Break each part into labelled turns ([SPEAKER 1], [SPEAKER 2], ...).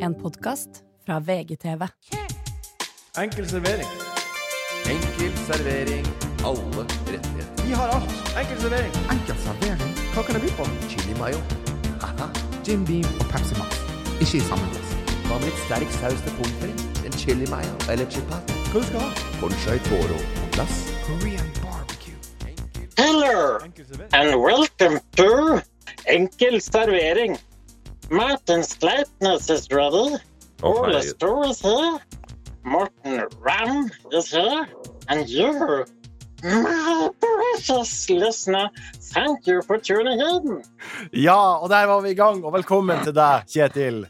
[SPEAKER 1] En podkast fra VGTV.
[SPEAKER 2] Enkel servering.
[SPEAKER 3] Enkel servering. Alle rettigheter.
[SPEAKER 2] Vi har alt. Enkel servering.
[SPEAKER 4] Enkel servering,
[SPEAKER 2] Hva kan jeg by på?
[SPEAKER 3] Chili mayo. Haha.
[SPEAKER 4] Jim Beam og Pepsi Max. Ikke i samme glass.
[SPEAKER 3] Hva med litt sterk saus til pommes frites? En chili mayo eller chipat?
[SPEAKER 2] Hva du skal ha?
[SPEAKER 3] Conchai toro på glass.
[SPEAKER 4] Korean barbecue.
[SPEAKER 5] Hello
[SPEAKER 2] Enkel servering.
[SPEAKER 5] and welcome to Enkel Servering. Martin Sleipnes is ready. Orla Store is here. Morten Ram is here. And you, my precious listener, thank you for tuning in.
[SPEAKER 2] Ja, og der var vi i gang. Og velkommen til deg, Kjetil.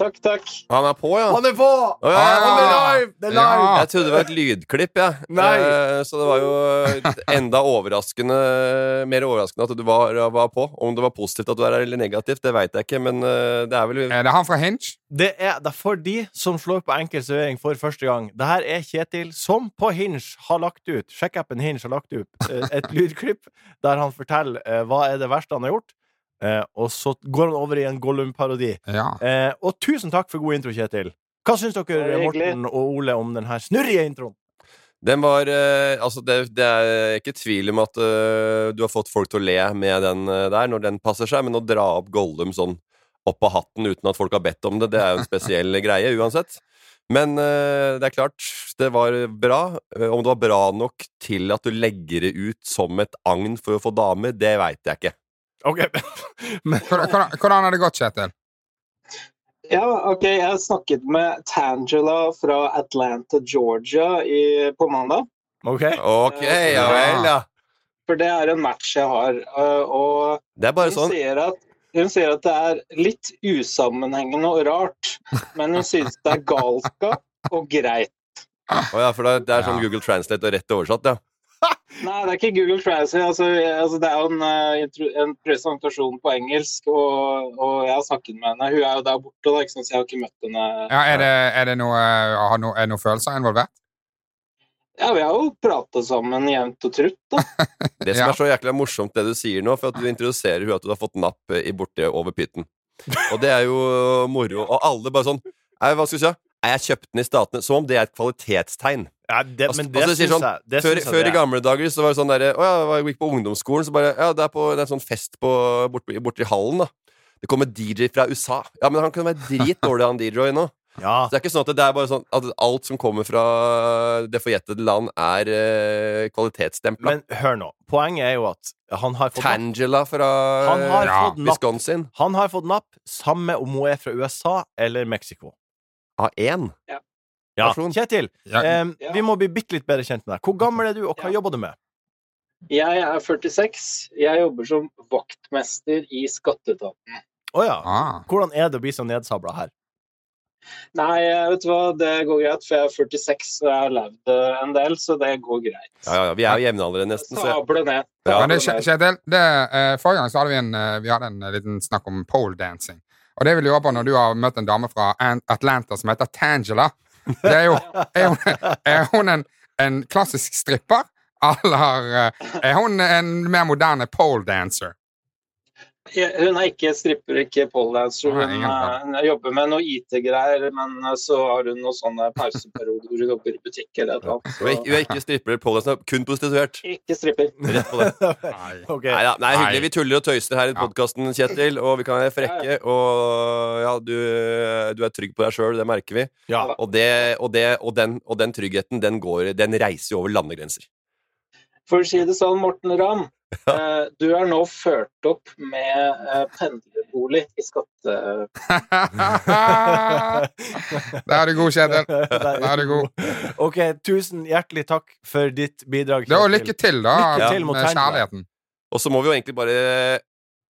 [SPEAKER 5] Takk, takk.
[SPEAKER 3] Han er på, ja.
[SPEAKER 2] Han er på!
[SPEAKER 3] Å, ja.
[SPEAKER 2] Han er live! Det er live!
[SPEAKER 4] Ja.
[SPEAKER 3] Jeg trodde det var et lydklipp, jeg.
[SPEAKER 2] Nei.
[SPEAKER 3] Eh, Så det var jo eh, enda overraskende mer overraskende at du var, var på. Om det var positivt at du er her, eller negativt, det veit jeg ikke, men eh, det er vel
[SPEAKER 4] Er det han fra Hinge?
[SPEAKER 2] Det er, det er for de som slår på enkel servering for første gang. Det her er Kjetil som på Hinge har lagt ut Sjekkappen Hinge har lagt ut eh, et lydklipp der han forteller eh, hva er det verste han har gjort, eh, og så går han over i en Gollum-parodi.
[SPEAKER 4] Ja.
[SPEAKER 2] Eh, og tusen takk for god intro, Kjetil. Hva syns dere,
[SPEAKER 5] Bare hyggelig.
[SPEAKER 2] Morten og Ole, om den her snurrige introen?
[SPEAKER 3] Den var eh, Altså, det, det er ikke tvil om at eh, du har fått folk til å le med den eh, der, når den passer seg, men å dra opp Gollum sånn opp av hatten uten at folk har bedt om det, det er jo en spesiell greie uansett. Men eh, det er klart, det var bra. Eh, Om det var bra nok til at du legger det ut som et agn for å få damer, det veit jeg ikke.
[SPEAKER 2] Ok, men
[SPEAKER 4] Hvordan, hvordan- hvordan har det gått, Kjetil?
[SPEAKER 5] Ja, ok, jeg snakket med Tangela fra Atlanta, Georgia i, på mandag.
[SPEAKER 2] Ok.
[SPEAKER 3] Ok, ja vel, ja.
[SPEAKER 5] For det er en match jeg har. øh, Og
[SPEAKER 3] Det er bare
[SPEAKER 5] Hun
[SPEAKER 3] sånn.
[SPEAKER 5] sier, at, hun sier at det er litt usammenhengende og rart, men hun synes det er galskap og greit.
[SPEAKER 3] Å ja, for det, det er sånn
[SPEAKER 4] Ja.
[SPEAKER 3] Google Translate og rett oversatt, ja.
[SPEAKER 5] Nei, det er ikke Google Translate. Altså, jeg- altså, det er jo en, eh, intro- en presentasjon på engelsk, og, og jeg har snakket med henne. Hun er jo der borte, da, ikke sant? så jeg har ikke møtt henne.
[SPEAKER 4] Ja, er det, er det noe, har noe, er det noe følelser involvert?
[SPEAKER 5] Ja, vi har jo pratet sammen jevnt og trutt, da.
[SPEAKER 3] Det som
[SPEAKER 4] Ja.
[SPEAKER 3] er så jækla morsomt det du sier nå, for at du introduserer hun at du har fått napp eh, i borte over pytten. Og det er jo moro. Og alle bare sånn Nei, hva skal vi si? Nei, jeg kjøpte den i Statene. Som om det er et kvalitetstegn.
[SPEAKER 2] Ja, det,
[SPEAKER 3] Altså,
[SPEAKER 2] men det
[SPEAKER 3] altså, jeg sier
[SPEAKER 2] syns
[SPEAKER 3] sånn,
[SPEAKER 2] jeg. Det
[SPEAKER 3] Før,
[SPEAKER 2] syns jeg
[SPEAKER 3] før
[SPEAKER 2] det
[SPEAKER 3] i
[SPEAKER 2] er.
[SPEAKER 3] gamle dager så var det sånn derre Å ja, jeg gikk på ungdomsskolen, så bare Ja, det er på det er en sånn fest på, bort, borte i hallen, da. Det kommer DJ fra USA. Ja, men han kan være dritdårlig, han DJ nå.
[SPEAKER 2] Ja.
[SPEAKER 3] Så det er ikke sånn at det er bare sånn at alt som kommer fra det forjettede land, er eh, kvalitetsstempla.
[SPEAKER 2] Men hør nå. Poenget er jo at han har fått napp.
[SPEAKER 3] Tangela fra
[SPEAKER 2] Han har
[SPEAKER 4] Ja,
[SPEAKER 2] fått napp.
[SPEAKER 3] Wisconsin.
[SPEAKER 2] Han har fått napp, samme om hun er fra USA eller Mexico.
[SPEAKER 3] Av én?
[SPEAKER 2] Ja.
[SPEAKER 3] Person.
[SPEAKER 2] Kjetil,
[SPEAKER 4] Ja,
[SPEAKER 3] Eh,
[SPEAKER 2] em,
[SPEAKER 5] Ja.
[SPEAKER 2] vi må bli bitte litt bedre kjent med deg. Hvor gammel er du, og hva
[SPEAKER 5] Ja.
[SPEAKER 2] jobber du med?
[SPEAKER 5] Jeg er 46. Jeg jobber som vaktmester i skatteetaten.
[SPEAKER 2] Å ja.
[SPEAKER 4] ah,
[SPEAKER 2] Hvordan er det å bli så nedsabla her?
[SPEAKER 5] Nei, vet du hva, det går greit, for jeg er 46 og jeg har levd eh, en del, så det går greit.
[SPEAKER 3] Ja, ja, ja, vi er jo jevnaldrende nesten, så jeg-
[SPEAKER 5] Sable ned.
[SPEAKER 3] Ja.
[SPEAKER 4] men det,
[SPEAKER 5] Sable ned.
[SPEAKER 4] Kjetil, det, eh, forrige gang så hadde vi en, eh, vi hadde en liten snakk om pole dancing. Og det vil jeg på når du har møtt en dame fra An- Atlanta som heter Tangela. Det er jo, er hun, er hun en, en klassisk stripper? Eller eh, er hun en mer moderne pole dancer?
[SPEAKER 5] Ja, Hun er ikke stripper, ikke poledancer.
[SPEAKER 4] Nei,
[SPEAKER 5] Hun,
[SPEAKER 4] ingen
[SPEAKER 5] eh,
[SPEAKER 4] problem.
[SPEAKER 5] hun jobber med noe IT-greier, men eh, så har hun noen sånne pauseperioder hvor hun jobber i butikk eller noe annet.
[SPEAKER 3] Hun er ikke- hun er ikke stripper, pålesende, kun prostituert.
[SPEAKER 5] Ikke stripper.
[SPEAKER 3] Rett på det.
[SPEAKER 2] Ok.
[SPEAKER 3] Nei, da, nei, hyggelig.
[SPEAKER 4] Nei.
[SPEAKER 3] Vi tuller og tøyser her i
[SPEAKER 4] Ja.
[SPEAKER 3] podkasten, Kjetil, og vi kan være frekke. Og ja, du, du er trygg på deg sjøl, det merker vi.
[SPEAKER 2] Ja.
[SPEAKER 3] Og, det, og, det, og, den, og den tryggheten, den, går, den reiser jo over landegrenser.
[SPEAKER 5] For å si det sånn, Morten Ramm, eh, du er nå ført opp med eh, pendlerbolig i skatte...
[SPEAKER 4] Der er du god, Kjetil.
[SPEAKER 2] Der
[SPEAKER 4] Der er du god.
[SPEAKER 2] Ok, tusen hjertelig takk for ditt bidrag.
[SPEAKER 4] Det er jo
[SPEAKER 2] Kjetil.
[SPEAKER 4] lykke til, da,
[SPEAKER 2] Lykke til mot
[SPEAKER 4] med
[SPEAKER 2] Tangela.
[SPEAKER 4] kjærligheten.
[SPEAKER 3] Og så må vi jo egentlig bare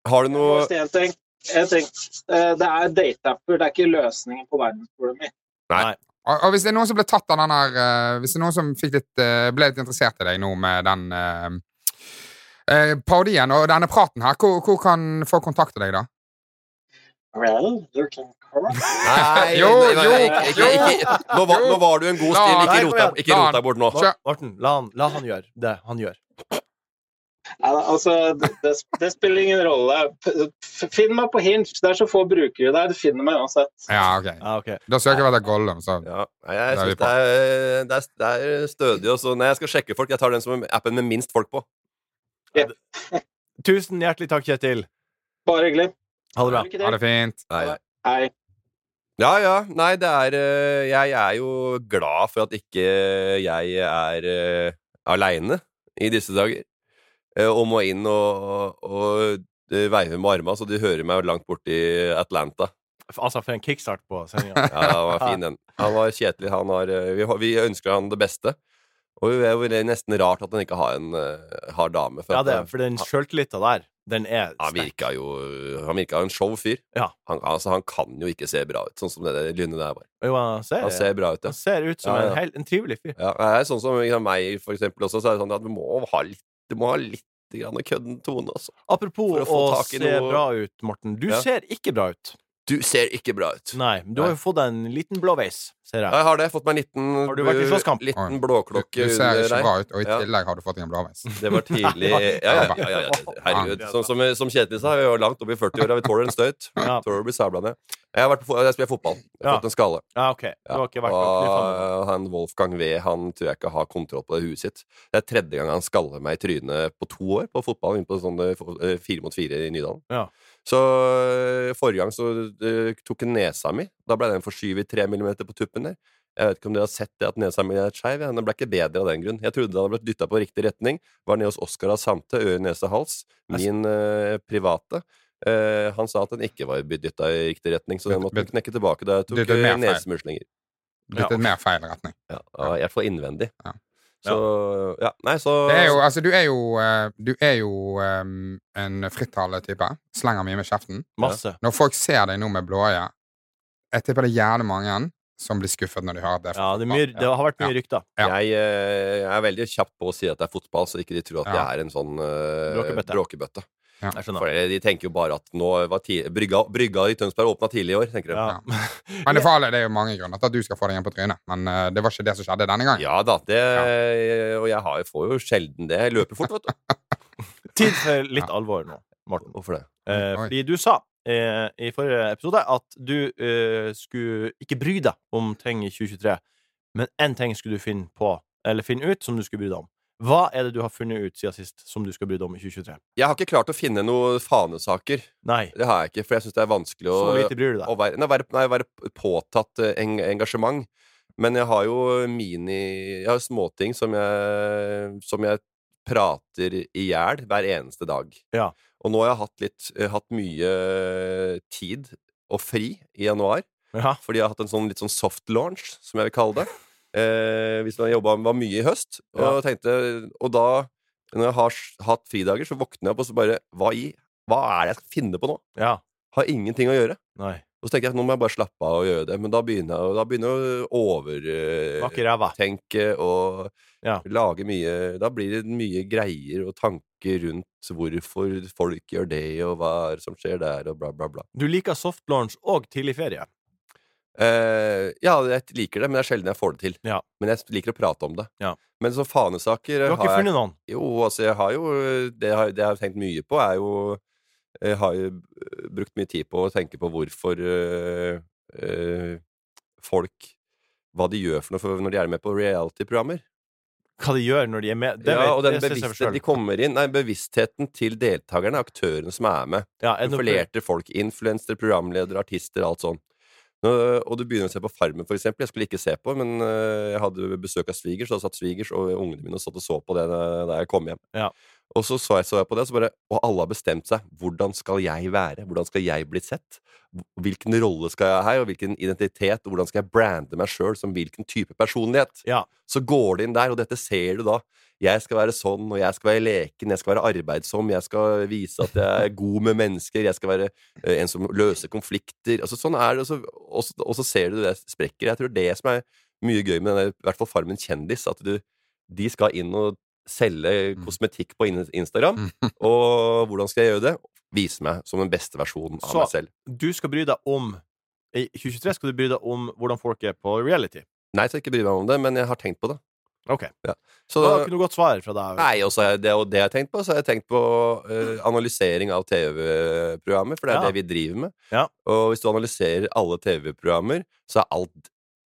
[SPEAKER 3] Har du
[SPEAKER 5] Jeg må
[SPEAKER 3] noe
[SPEAKER 5] si en ting. En ting. Eh, det er date-apper, det er ikke løsningen på verdensproblemet.
[SPEAKER 4] Og, og hvis det er noen som ble tatt av den her eh, Hvis det er noen som fikk litt, eh, ble litt interessert i deg nå med den eh, eh, parodien og denne praten her, hvor, hvor kan folk kontakte deg, da?
[SPEAKER 5] Well, you can correct.
[SPEAKER 3] Nei,
[SPEAKER 4] Jo,
[SPEAKER 3] nei, nei,
[SPEAKER 4] jo,
[SPEAKER 3] ikke, ikke, ikke. Nå, var, nå var du en god stil.
[SPEAKER 4] La-
[SPEAKER 3] Ikke rot deg- ikke rot deg bort nå.
[SPEAKER 2] Mor- Morten, la han, la han gjøre det han gjør.
[SPEAKER 5] Nei, da, altså, det, det spiller ingen rolle. P- f- Finn meg på Hinge. Det er så få brukere der. Du finner meg uansett.
[SPEAKER 4] Ja, ok.
[SPEAKER 2] Ja, ok.
[SPEAKER 4] Da søker vi etter Gollum, så
[SPEAKER 3] Ja, nei, jeg
[SPEAKER 4] Der er vi
[SPEAKER 3] synes det, er, det, er, det er stødig. Og så, nei, jeg skal sjekke folk. Jeg tar den som er appen med minst folk på.
[SPEAKER 2] Tusen hjertelig takk, Kjetil.
[SPEAKER 5] Bare hyggelig.
[SPEAKER 2] Ha det bra.
[SPEAKER 5] Lykke til.
[SPEAKER 4] ha det fint.
[SPEAKER 3] Nei.
[SPEAKER 5] Hei.
[SPEAKER 3] Ja, ja. Nei, det er eh, Jeg er jo glad for at ikke jeg er uh, aleine i disse dager. eh, og må inn og, og eh, veive med arma, så de hører meg langt borti Atlanta.
[SPEAKER 2] Altså, for en kickstart på sendinga.
[SPEAKER 3] Ja, han var fin, den. Han var Kjetil. Han har, eh, vi, har- vi ønsker han det beste. Og det er jo nesten rart at han ikke har en eh, har dame. For
[SPEAKER 2] Ja,
[SPEAKER 3] at,
[SPEAKER 2] det, er- for den sjøltillita der, den er
[SPEAKER 3] Han
[SPEAKER 2] sterk.
[SPEAKER 3] virka jo Han virka jo en show fyr.
[SPEAKER 2] Ja.
[SPEAKER 3] Han, altså, han kan jo ikke se bra ut, sånn som det der lynet der var.
[SPEAKER 2] Jo, han ser,
[SPEAKER 3] Han ser bra ut, ja.
[SPEAKER 2] han ser ut som
[SPEAKER 3] Ja, ja.
[SPEAKER 2] En, hel, en trivelig fyr.
[SPEAKER 3] ja det er sånn som liksom, meg, for eksempel, også, så er det sånn at du må ha litt, du må ha litt grann kødden tone, altså.
[SPEAKER 2] Apropos å,
[SPEAKER 3] For å få tak i
[SPEAKER 2] se
[SPEAKER 3] noe-
[SPEAKER 2] bra ut, Morten. Du
[SPEAKER 3] Ja.
[SPEAKER 2] ser ikke bra ut.
[SPEAKER 3] Du ser ikke bra ut.
[SPEAKER 2] Nei, men du har jo fått deg en liten blåveis, ser jeg.
[SPEAKER 3] Jeg har det. Fått meg en liten, eh,
[SPEAKER 2] Har du vært i slåsskamp?
[SPEAKER 3] liten
[SPEAKER 4] Du,
[SPEAKER 3] blåklokke
[SPEAKER 4] du ser
[SPEAKER 3] under
[SPEAKER 4] ikke
[SPEAKER 3] der.
[SPEAKER 4] bra ut, og i
[SPEAKER 3] Ja.
[SPEAKER 4] tillegg har du fått deg en blåveis.
[SPEAKER 3] Det var tidlig Ja, ja, ja. ja, ja. Herregud. Sånn som, som Kjetil sa, vi var langt oppe i 40-åra. Vi tåler en støyt.
[SPEAKER 2] Ja.
[SPEAKER 3] Tåler å bli sabla ned. Jeg har vært på, fo- jeg spiller fotball. Jeg har
[SPEAKER 2] Ja.
[SPEAKER 3] fått en skalle.
[SPEAKER 2] Ja, OK. Du
[SPEAKER 3] Ja,
[SPEAKER 2] har ikke vært
[SPEAKER 3] og,
[SPEAKER 2] på
[SPEAKER 3] eh, han Wolfgang V han tror jeg ikke har kontroll på det huet sitt. Det er tredje gang han skaller meg i trynet på to år på fotball. Inn på sånn eh, fo- eh, fire mot fire i Nydalen.
[SPEAKER 2] Ja.
[SPEAKER 3] Så eh, forrige gang så eh, tok han nesa mi. Da ble den forskyvet tre millimeter på tuppen der. Jeg vet ikke om dere har sett det at nesa mi er skeiv. ja. Den ble ikke bedre av den grunn. Jeg trodde den hadde blitt dytta på riktig retning. Var nede hos Oskar Asante, øre, nese, hals. Min eh, private. Eh, han sa at den ikke var dytta i riktig retning, så den
[SPEAKER 4] Bytt-
[SPEAKER 3] måtte
[SPEAKER 4] bytt-
[SPEAKER 3] knekke tilbake da jeg tok
[SPEAKER 4] Dyttet
[SPEAKER 3] eh,
[SPEAKER 4] mer feil.
[SPEAKER 3] nesemuslinger.
[SPEAKER 4] Litt
[SPEAKER 2] Ja.
[SPEAKER 4] mer feil retning.
[SPEAKER 3] Ja, og i hvert fall innvendig.
[SPEAKER 4] Ja.
[SPEAKER 3] Så Ja, nei, så
[SPEAKER 4] Det er jo, altså, du er jo, eh, du er jo ehm, en frittalende-type. Slenger mye med kjeften.
[SPEAKER 2] Masse.
[SPEAKER 4] Når folk ser deg nå med blåøye, jeg tipper det er jævlig mange som blir skuffet når de hører det.
[SPEAKER 2] Ja, det, er mye, det har vært mye rykter.
[SPEAKER 4] Ja.
[SPEAKER 3] jeg, eh, jeg er veldig kjapp på å si at det er fotball, så ikke de tror at
[SPEAKER 4] Ja.
[SPEAKER 3] jeg er en sånn eh,
[SPEAKER 2] Bråkebøtte.
[SPEAKER 3] bråkebøtte.
[SPEAKER 2] Jeg
[SPEAKER 3] For
[SPEAKER 2] skjønner.
[SPEAKER 3] de tenker jo bare at nå var ti, brygga, brygga i Tønsberg åpna tidlig i år, tenker de.
[SPEAKER 2] Ja.
[SPEAKER 3] Ja.
[SPEAKER 4] Men det, er farlig, det er jo mange grunner til at du skal få deg en på trynet, men eh, det var ikke det som skjedde denne gangen.
[SPEAKER 3] da, det Og jeg har, får jo sjelden det. Jeg løper fort, vet du.
[SPEAKER 2] Tid for litt alvor nå, Morten.
[SPEAKER 3] Hvorfor det?
[SPEAKER 2] Eh,
[SPEAKER 4] Oi.
[SPEAKER 2] fordi du sa eh, i forrige episode at du eh, skulle ikke bry deg om ting i 2023, men én ting skulle du finne på, eller finne ut, som du skulle bry deg om. Hva er det du har funnet ut siden sist som du skal bry deg om i 2023?
[SPEAKER 3] Jeg har ikke klart å finne noen fanesaker.
[SPEAKER 2] Nei,
[SPEAKER 3] Det har jeg ikke, for jeg syns det er vanskelig å
[SPEAKER 2] så lite bryr du deg.
[SPEAKER 3] å være, nei, være, nei, være påtatt eh, eng, engasjement. Men jeg har jo mini Jeg har småting som jeg, som jeg prater i hjel hver eneste dag.
[SPEAKER 2] Ja.
[SPEAKER 3] Og nå har jeg hatt, litt, eh, hatt mye eh, tid og fri i januar,
[SPEAKER 2] Ja.
[SPEAKER 3] fordi jeg har hatt en sånn litt sånn soft launch, som jeg vil kalle det. Eh, hvis man jobba var mye i høst, og
[SPEAKER 2] Ja.
[SPEAKER 3] tenkte Og da, når jeg har s- hatt fridager, så våkner jeg opp og så bare Hva i Hva er det jeg skal finne på nå?
[SPEAKER 2] ja.
[SPEAKER 3] Har ingenting å gjøre.
[SPEAKER 2] Nei.
[SPEAKER 3] Og så tenker jeg at nå må jeg bare slappe av og gjøre det, men da begynner jeg, da begynner jeg å
[SPEAKER 2] Bak i ræva.
[SPEAKER 3] overtenke og
[SPEAKER 2] Ja.
[SPEAKER 3] lage mye Da blir det mye greier og tanker rundt hvorfor folk gjør det, og hva er det som skjer der, og bla, bla, bla.
[SPEAKER 2] Du liker soft launch og tidlig ferie.
[SPEAKER 3] Eh, ja, jeg liker det, men det er sjelden jeg får det til.
[SPEAKER 2] Ja.
[SPEAKER 3] Men jeg liker å prate om det.
[SPEAKER 2] Ja.
[SPEAKER 3] Men så fanesaker eh,
[SPEAKER 2] Du har ikke
[SPEAKER 3] jeg
[SPEAKER 2] funnet noen?
[SPEAKER 3] Jo, altså, jeg har jo Det jeg har, det jeg har tenkt mye på, er jo Jeg har jo brukt mye tid på å tenke på hvorfor øh, øh, folk Hva de gjør for noe for når de er med på reality-programmer.
[SPEAKER 2] Hva de gjør når de er med? Det
[SPEAKER 3] Ja,
[SPEAKER 2] vet-
[SPEAKER 3] og den
[SPEAKER 2] det sier seg
[SPEAKER 3] bevisstheten,
[SPEAKER 2] selv.
[SPEAKER 3] de kommer inn, nei, bevisstheten til deltakerne, aktørene som er med.
[SPEAKER 2] Ja, er det noe-
[SPEAKER 3] Profilerte folk. Influensere, programledere, artister, alt sånn. Nå, Og du begynner å se på Farmen, for eksempel. Jeg skulle ikke se på, men øh, jeg hadde besøk av svigers, og da satt svigers og ungene mine og satt og så på det da da jeg kom hjem.
[SPEAKER 2] Ja.
[SPEAKER 3] Og så så jeg, så jeg på det, så bare, og alle har bestemt seg. Hvordan skal jeg være? Hvordan skal jeg bli sett? Hvilken rolle skal jeg ha her, og hvilken identitet? Og hvordan skal jeg brande meg sjøl som hvilken type personlighet?
[SPEAKER 2] Ja.
[SPEAKER 3] Så går det inn der, og dette ser du da. Jeg skal være sånn, og jeg skal være leken, jeg skal være arbeidsom, jeg skal vise at jeg er god med mennesker, jeg skal være eh, en som løser konflikter. Altså sånn er det, og så, og så, og så ser du det sprekker. Jeg tror det som er mye gøy med denne, i hvert fall Farmen kjendis, at du, de skal inn og selge
[SPEAKER 4] Mm.
[SPEAKER 3] kosmetikk på In- Instagram. Og hvordan skal jeg gjøre det? Vise meg som den beste versjonen av
[SPEAKER 2] Så-
[SPEAKER 3] meg selv.
[SPEAKER 2] Du skal bry deg om I 2023 skal du bry deg om hvordan folk er på reality.
[SPEAKER 3] Nei, så ikke bry meg om det, men jeg har tenkt på det.
[SPEAKER 2] OK.
[SPEAKER 3] Så
[SPEAKER 2] Det
[SPEAKER 3] da,
[SPEAKER 2] var ikke noe godt svar fra deg.
[SPEAKER 3] nei, og så er det, og det jeg har tenkt på, så har jeg tenkt på eh, analysering av TV-programmer, for det er
[SPEAKER 2] Ja.
[SPEAKER 3] det vi driver med.
[SPEAKER 2] Ja.
[SPEAKER 3] Og hvis du analyserer alle TV-programmer, så er alt,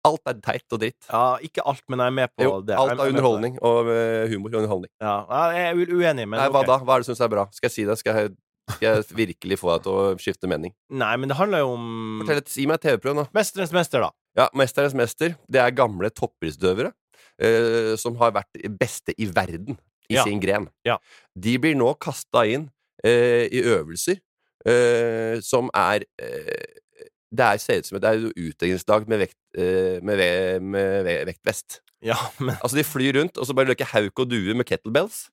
[SPEAKER 3] alt er teit og dritt.
[SPEAKER 2] Ja, ikke alt, men jeg er med på
[SPEAKER 3] Jo,
[SPEAKER 2] det.
[SPEAKER 3] alt
[SPEAKER 2] Jeg- jeg med
[SPEAKER 3] er
[SPEAKER 2] på det.
[SPEAKER 3] underholdning og eh, humor og underholdning.
[SPEAKER 2] Ja, Nei, jeg er u- uenig, men
[SPEAKER 3] Nei, hva
[SPEAKER 2] ok.
[SPEAKER 3] da? Hva er det du syns er bra? Skal jeg si det? Skal jeg, skal jeg virkelig få deg til å skifte mening?
[SPEAKER 2] Nei, men det handler jo om
[SPEAKER 3] Fortell et, Si meg et TV-program, da.
[SPEAKER 2] Mesterens mester, da.
[SPEAKER 3] Ja, 'Mesterens mester' det er gamle toppidrettsutøvere eh, som har vært beste i verden i
[SPEAKER 2] Ja.
[SPEAKER 3] sin gren.
[SPEAKER 2] Ja.
[SPEAKER 3] De blir nå kasta inn eh, i øvelser eh, som er eh, Det er ser ut som et det er jo utdelingsdag med, vekt, eh, med, ve- med ve- vektvest.
[SPEAKER 2] Ja, men
[SPEAKER 3] Altså, de flyr rundt, og så bare løker hauk og due med kettlebells.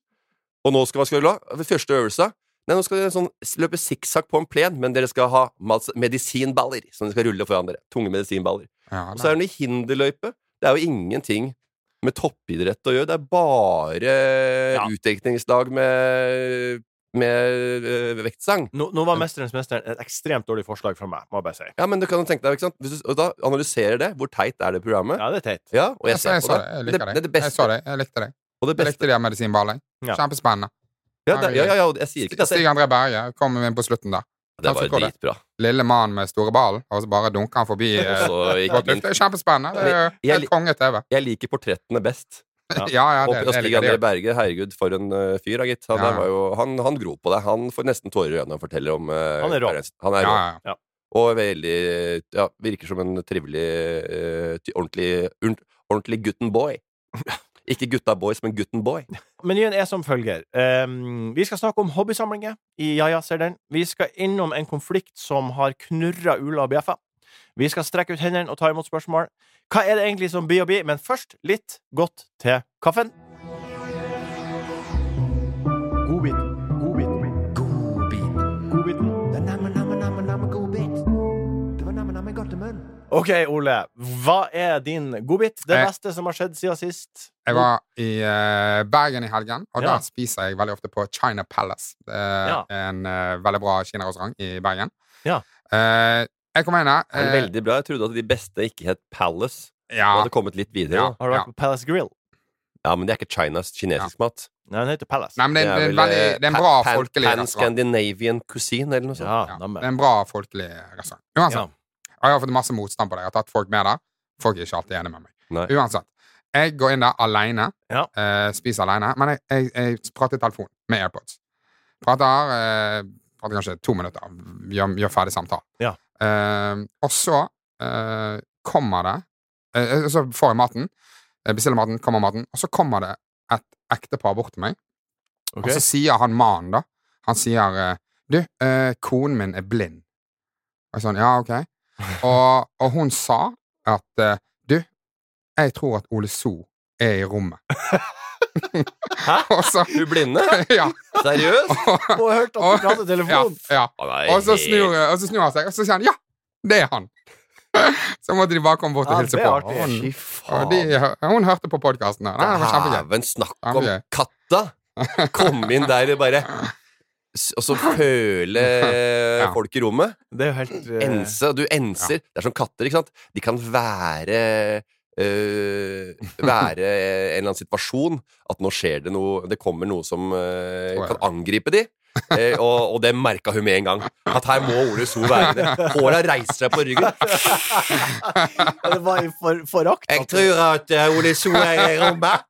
[SPEAKER 3] Og nå skal, hva skal dere ha? Første øvelsa Nei, nå skal dere sånn, s- løpe sikksakk på en plen, men dere skal ha mas- medisinballer som dere skal rulle foran dere. Tunge medisinballer.
[SPEAKER 4] Ja,
[SPEAKER 3] Og så
[SPEAKER 4] da.
[SPEAKER 3] er det noe hinderløype. Det er jo ingenting med toppidrett å gjøre. Det er bare
[SPEAKER 2] Ja.
[SPEAKER 3] utdekningsdag med, med øh, vektsang.
[SPEAKER 2] nå, nå var Mesterens mester et ekstremt dårlig forslag fra meg, må jeg bare si.
[SPEAKER 3] Ja, men du kan jo tenke deg, ikke sant? Hvis du, og da analyserer det. Hvor teit er det programmet?
[SPEAKER 2] Ja, det er teit.
[SPEAKER 3] Ja, og jeg
[SPEAKER 4] Altså,
[SPEAKER 3] ser
[SPEAKER 4] Jeg, jeg,
[SPEAKER 3] på
[SPEAKER 4] så
[SPEAKER 3] det.
[SPEAKER 4] det. jeg liker
[SPEAKER 3] det, det er
[SPEAKER 4] deg.
[SPEAKER 3] beste.
[SPEAKER 4] Jeg så det. Jeg likte deg.
[SPEAKER 3] Og det
[SPEAKER 4] Jeg
[SPEAKER 3] beste
[SPEAKER 4] likte de medisinballene.
[SPEAKER 2] Ja.
[SPEAKER 4] Kjempespennende.
[SPEAKER 3] Ja, det, ja, ja, ja, og jeg sier ikke det.
[SPEAKER 4] Stig André Berge kom inn på slutten der.
[SPEAKER 3] Det var
[SPEAKER 4] Kanskje
[SPEAKER 3] jo
[SPEAKER 4] går det.
[SPEAKER 3] dritbra.
[SPEAKER 4] Lille mann med store ballen, og så bare dunker han forbi.
[SPEAKER 3] Og
[SPEAKER 4] eh,
[SPEAKER 3] så gikk
[SPEAKER 4] godt
[SPEAKER 3] min-
[SPEAKER 4] ut. Det er kjempespennende. Det er jo
[SPEAKER 3] Jeg-
[SPEAKER 4] helt konge-TV.
[SPEAKER 3] Jeg liker portrettene best.
[SPEAKER 2] Ja.
[SPEAKER 4] Ja, ja,
[SPEAKER 3] Og
[SPEAKER 4] det,
[SPEAKER 3] og
[SPEAKER 4] det
[SPEAKER 3] Stig
[SPEAKER 4] liker
[SPEAKER 3] André
[SPEAKER 4] jeg.
[SPEAKER 3] Berge, herregud, for en eh, fyr, da, gitt. Han,
[SPEAKER 4] Ja.
[SPEAKER 3] der var jo, han, han gro på det. Han får nesten tårer i øynene når han forteller om eh,
[SPEAKER 2] Han er rå.
[SPEAKER 3] karrieren sin. Han
[SPEAKER 4] Ja,
[SPEAKER 3] er rå.
[SPEAKER 4] ja.
[SPEAKER 3] Og veldig Ja, virker som en trivelig, eh, ty- ordentlig, urn- ordentlig gutten boy. Ikke gutta boys, men gutten boy.
[SPEAKER 4] Eh.
[SPEAKER 2] Menyen er som følger. Ehm, vi skal snakke om hobbysamlinger i Ja ja, ser den. Vi skal innom en konflikt som har knurra Ula og Bjeffa. Vi skal strekke ut hendene og ta imot spørsmål. Hva er det egentlig som blir og blir? Men først litt godt til kaffen. Godbit. Godbit. Godbiten. OK, Ole. Hva er din godbit? Det
[SPEAKER 4] Eh.
[SPEAKER 2] beste som har skjedd siden sist?
[SPEAKER 4] Jeg var i eh, Bergen i helgen, og
[SPEAKER 2] Ja.
[SPEAKER 4] der spiser jeg veldig ofte på China Palace. Det er
[SPEAKER 2] Ja.
[SPEAKER 4] En eh, veldig bra kinarestaurant i Bergen.
[SPEAKER 2] Ja.
[SPEAKER 4] Eh, jeg kom inn her.
[SPEAKER 3] Det er
[SPEAKER 4] eh,
[SPEAKER 3] veldig bra. Jeg trodde at de beste ikke het Palace.
[SPEAKER 4] ja,
[SPEAKER 3] Og hadde kommet litt videre.
[SPEAKER 4] Ja.
[SPEAKER 3] Ja,
[SPEAKER 2] Har du vært på Palace Grill?
[SPEAKER 3] men det er ikke Chinas kinesisk mat.
[SPEAKER 2] Nei, den heter Palace.
[SPEAKER 4] Nei, men det, er- det, er
[SPEAKER 3] vel,
[SPEAKER 4] en
[SPEAKER 3] eh,
[SPEAKER 4] veldig, det er en
[SPEAKER 3] pan-
[SPEAKER 4] bra
[SPEAKER 3] pan-
[SPEAKER 4] folkelig restaurant.
[SPEAKER 3] Pan-Scandinavian cuisine, eller noe sånt.
[SPEAKER 2] Ja,
[SPEAKER 4] Ja,
[SPEAKER 2] neimen.
[SPEAKER 4] det er en bra folkelig restaurant. Uansett.
[SPEAKER 2] Ja.
[SPEAKER 4] Og jeg har fått masse motstand på det. Jeg har tatt folk med der. Folk er ikke alltid enige med meg.
[SPEAKER 3] Nei.
[SPEAKER 4] Uansett. Jeg går inn der alene,
[SPEAKER 2] Ja.
[SPEAKER 4] eh, spiser alene, men jeg, jeg, jeg prater i telefon med AirPods. Prater, eh, prater kanskje to minutter, gjør, gjør ferdig samtalen.
[SPEAKER 2] Ja.
[SPEAKER 4] Eh, og så eh, kommer det eh, eh, Så får jeg maten, eh, bestiller maten, kommer maten, og så kommer det et ektepar bort til meg,
[SPEAKER 2] Ok.
[SPEAKER 4] og så sier han mannen, da. Han sier eh, Du, eh, konen min er blind. Og jeg sånn, ja, ok. Og, og hun sa at eh, Du, jeg tror at Ole So er i rommet.
[SPEAKER 3] Hæ?
[SPEAKER 4] og så
[SPEAKER 3] Du blinde?
[SPEAKER 4] Ja.
[SPEAKER 3] Seriøst?
[SPEAKER 4] Og,
[SPEAKER 2] Og jeg hørte at du hadde
[SPEAKER 4] ja,
[SPEAKER 2] telefon.
[SPEAKER 4] ja.
[SPEAKER 3] Han er
[SPEAKER 4] Og, så
[SPEAKER 3] helt-
[SPEAKER 4] snur, eh, og så snur han seg, og så sier han ja, det er han. Så måtte de bare komme bort
[SPEAKER 2] Ja,
[SPEAKER 4] og hilse
[SPEAKER 2] det er
[SPEAKER 4] på.
[SPEAKER 2] artig.
[SPEAKER 3] Fy
[SPEAKER 4] Og hun,
[SPEAKER 3] faen.
[SPEAKER 4] og de, eh, hun hørte på podkasten. Det var kjempegøy.
[SPEAKER 3] Dæven snakk
[SPEAKER 4] Ja,
[SPEAKER 3] om
[SPEAKER 4] det er gøy.
[SPEAKER 3] katta! Kom inn der og bare s- Og så føle
[SPEAKER 4] Ja.
[SPEAKER 3] folk i rommet.
[SPEAKER 2] Det er jo helt eh,
[SPEAKER 3] Ense. Du enser. Det er som katter, ikke sant? De kan være øh, være en eller annen situasjon. At nå skjer det noe Det kommer noe som øh,
[SPEAKER 4] Tror jeg.
[SPEAKER 3] kan angripe de. Eh, og, og det merka hun med en gang. At her må Ole So være det. Håra reiser seg på ryggen.
[SPEAKER 2] Det var i for, forakt.
[SPEAKER 3] Jeg tror at eh, Ole So er i rommet.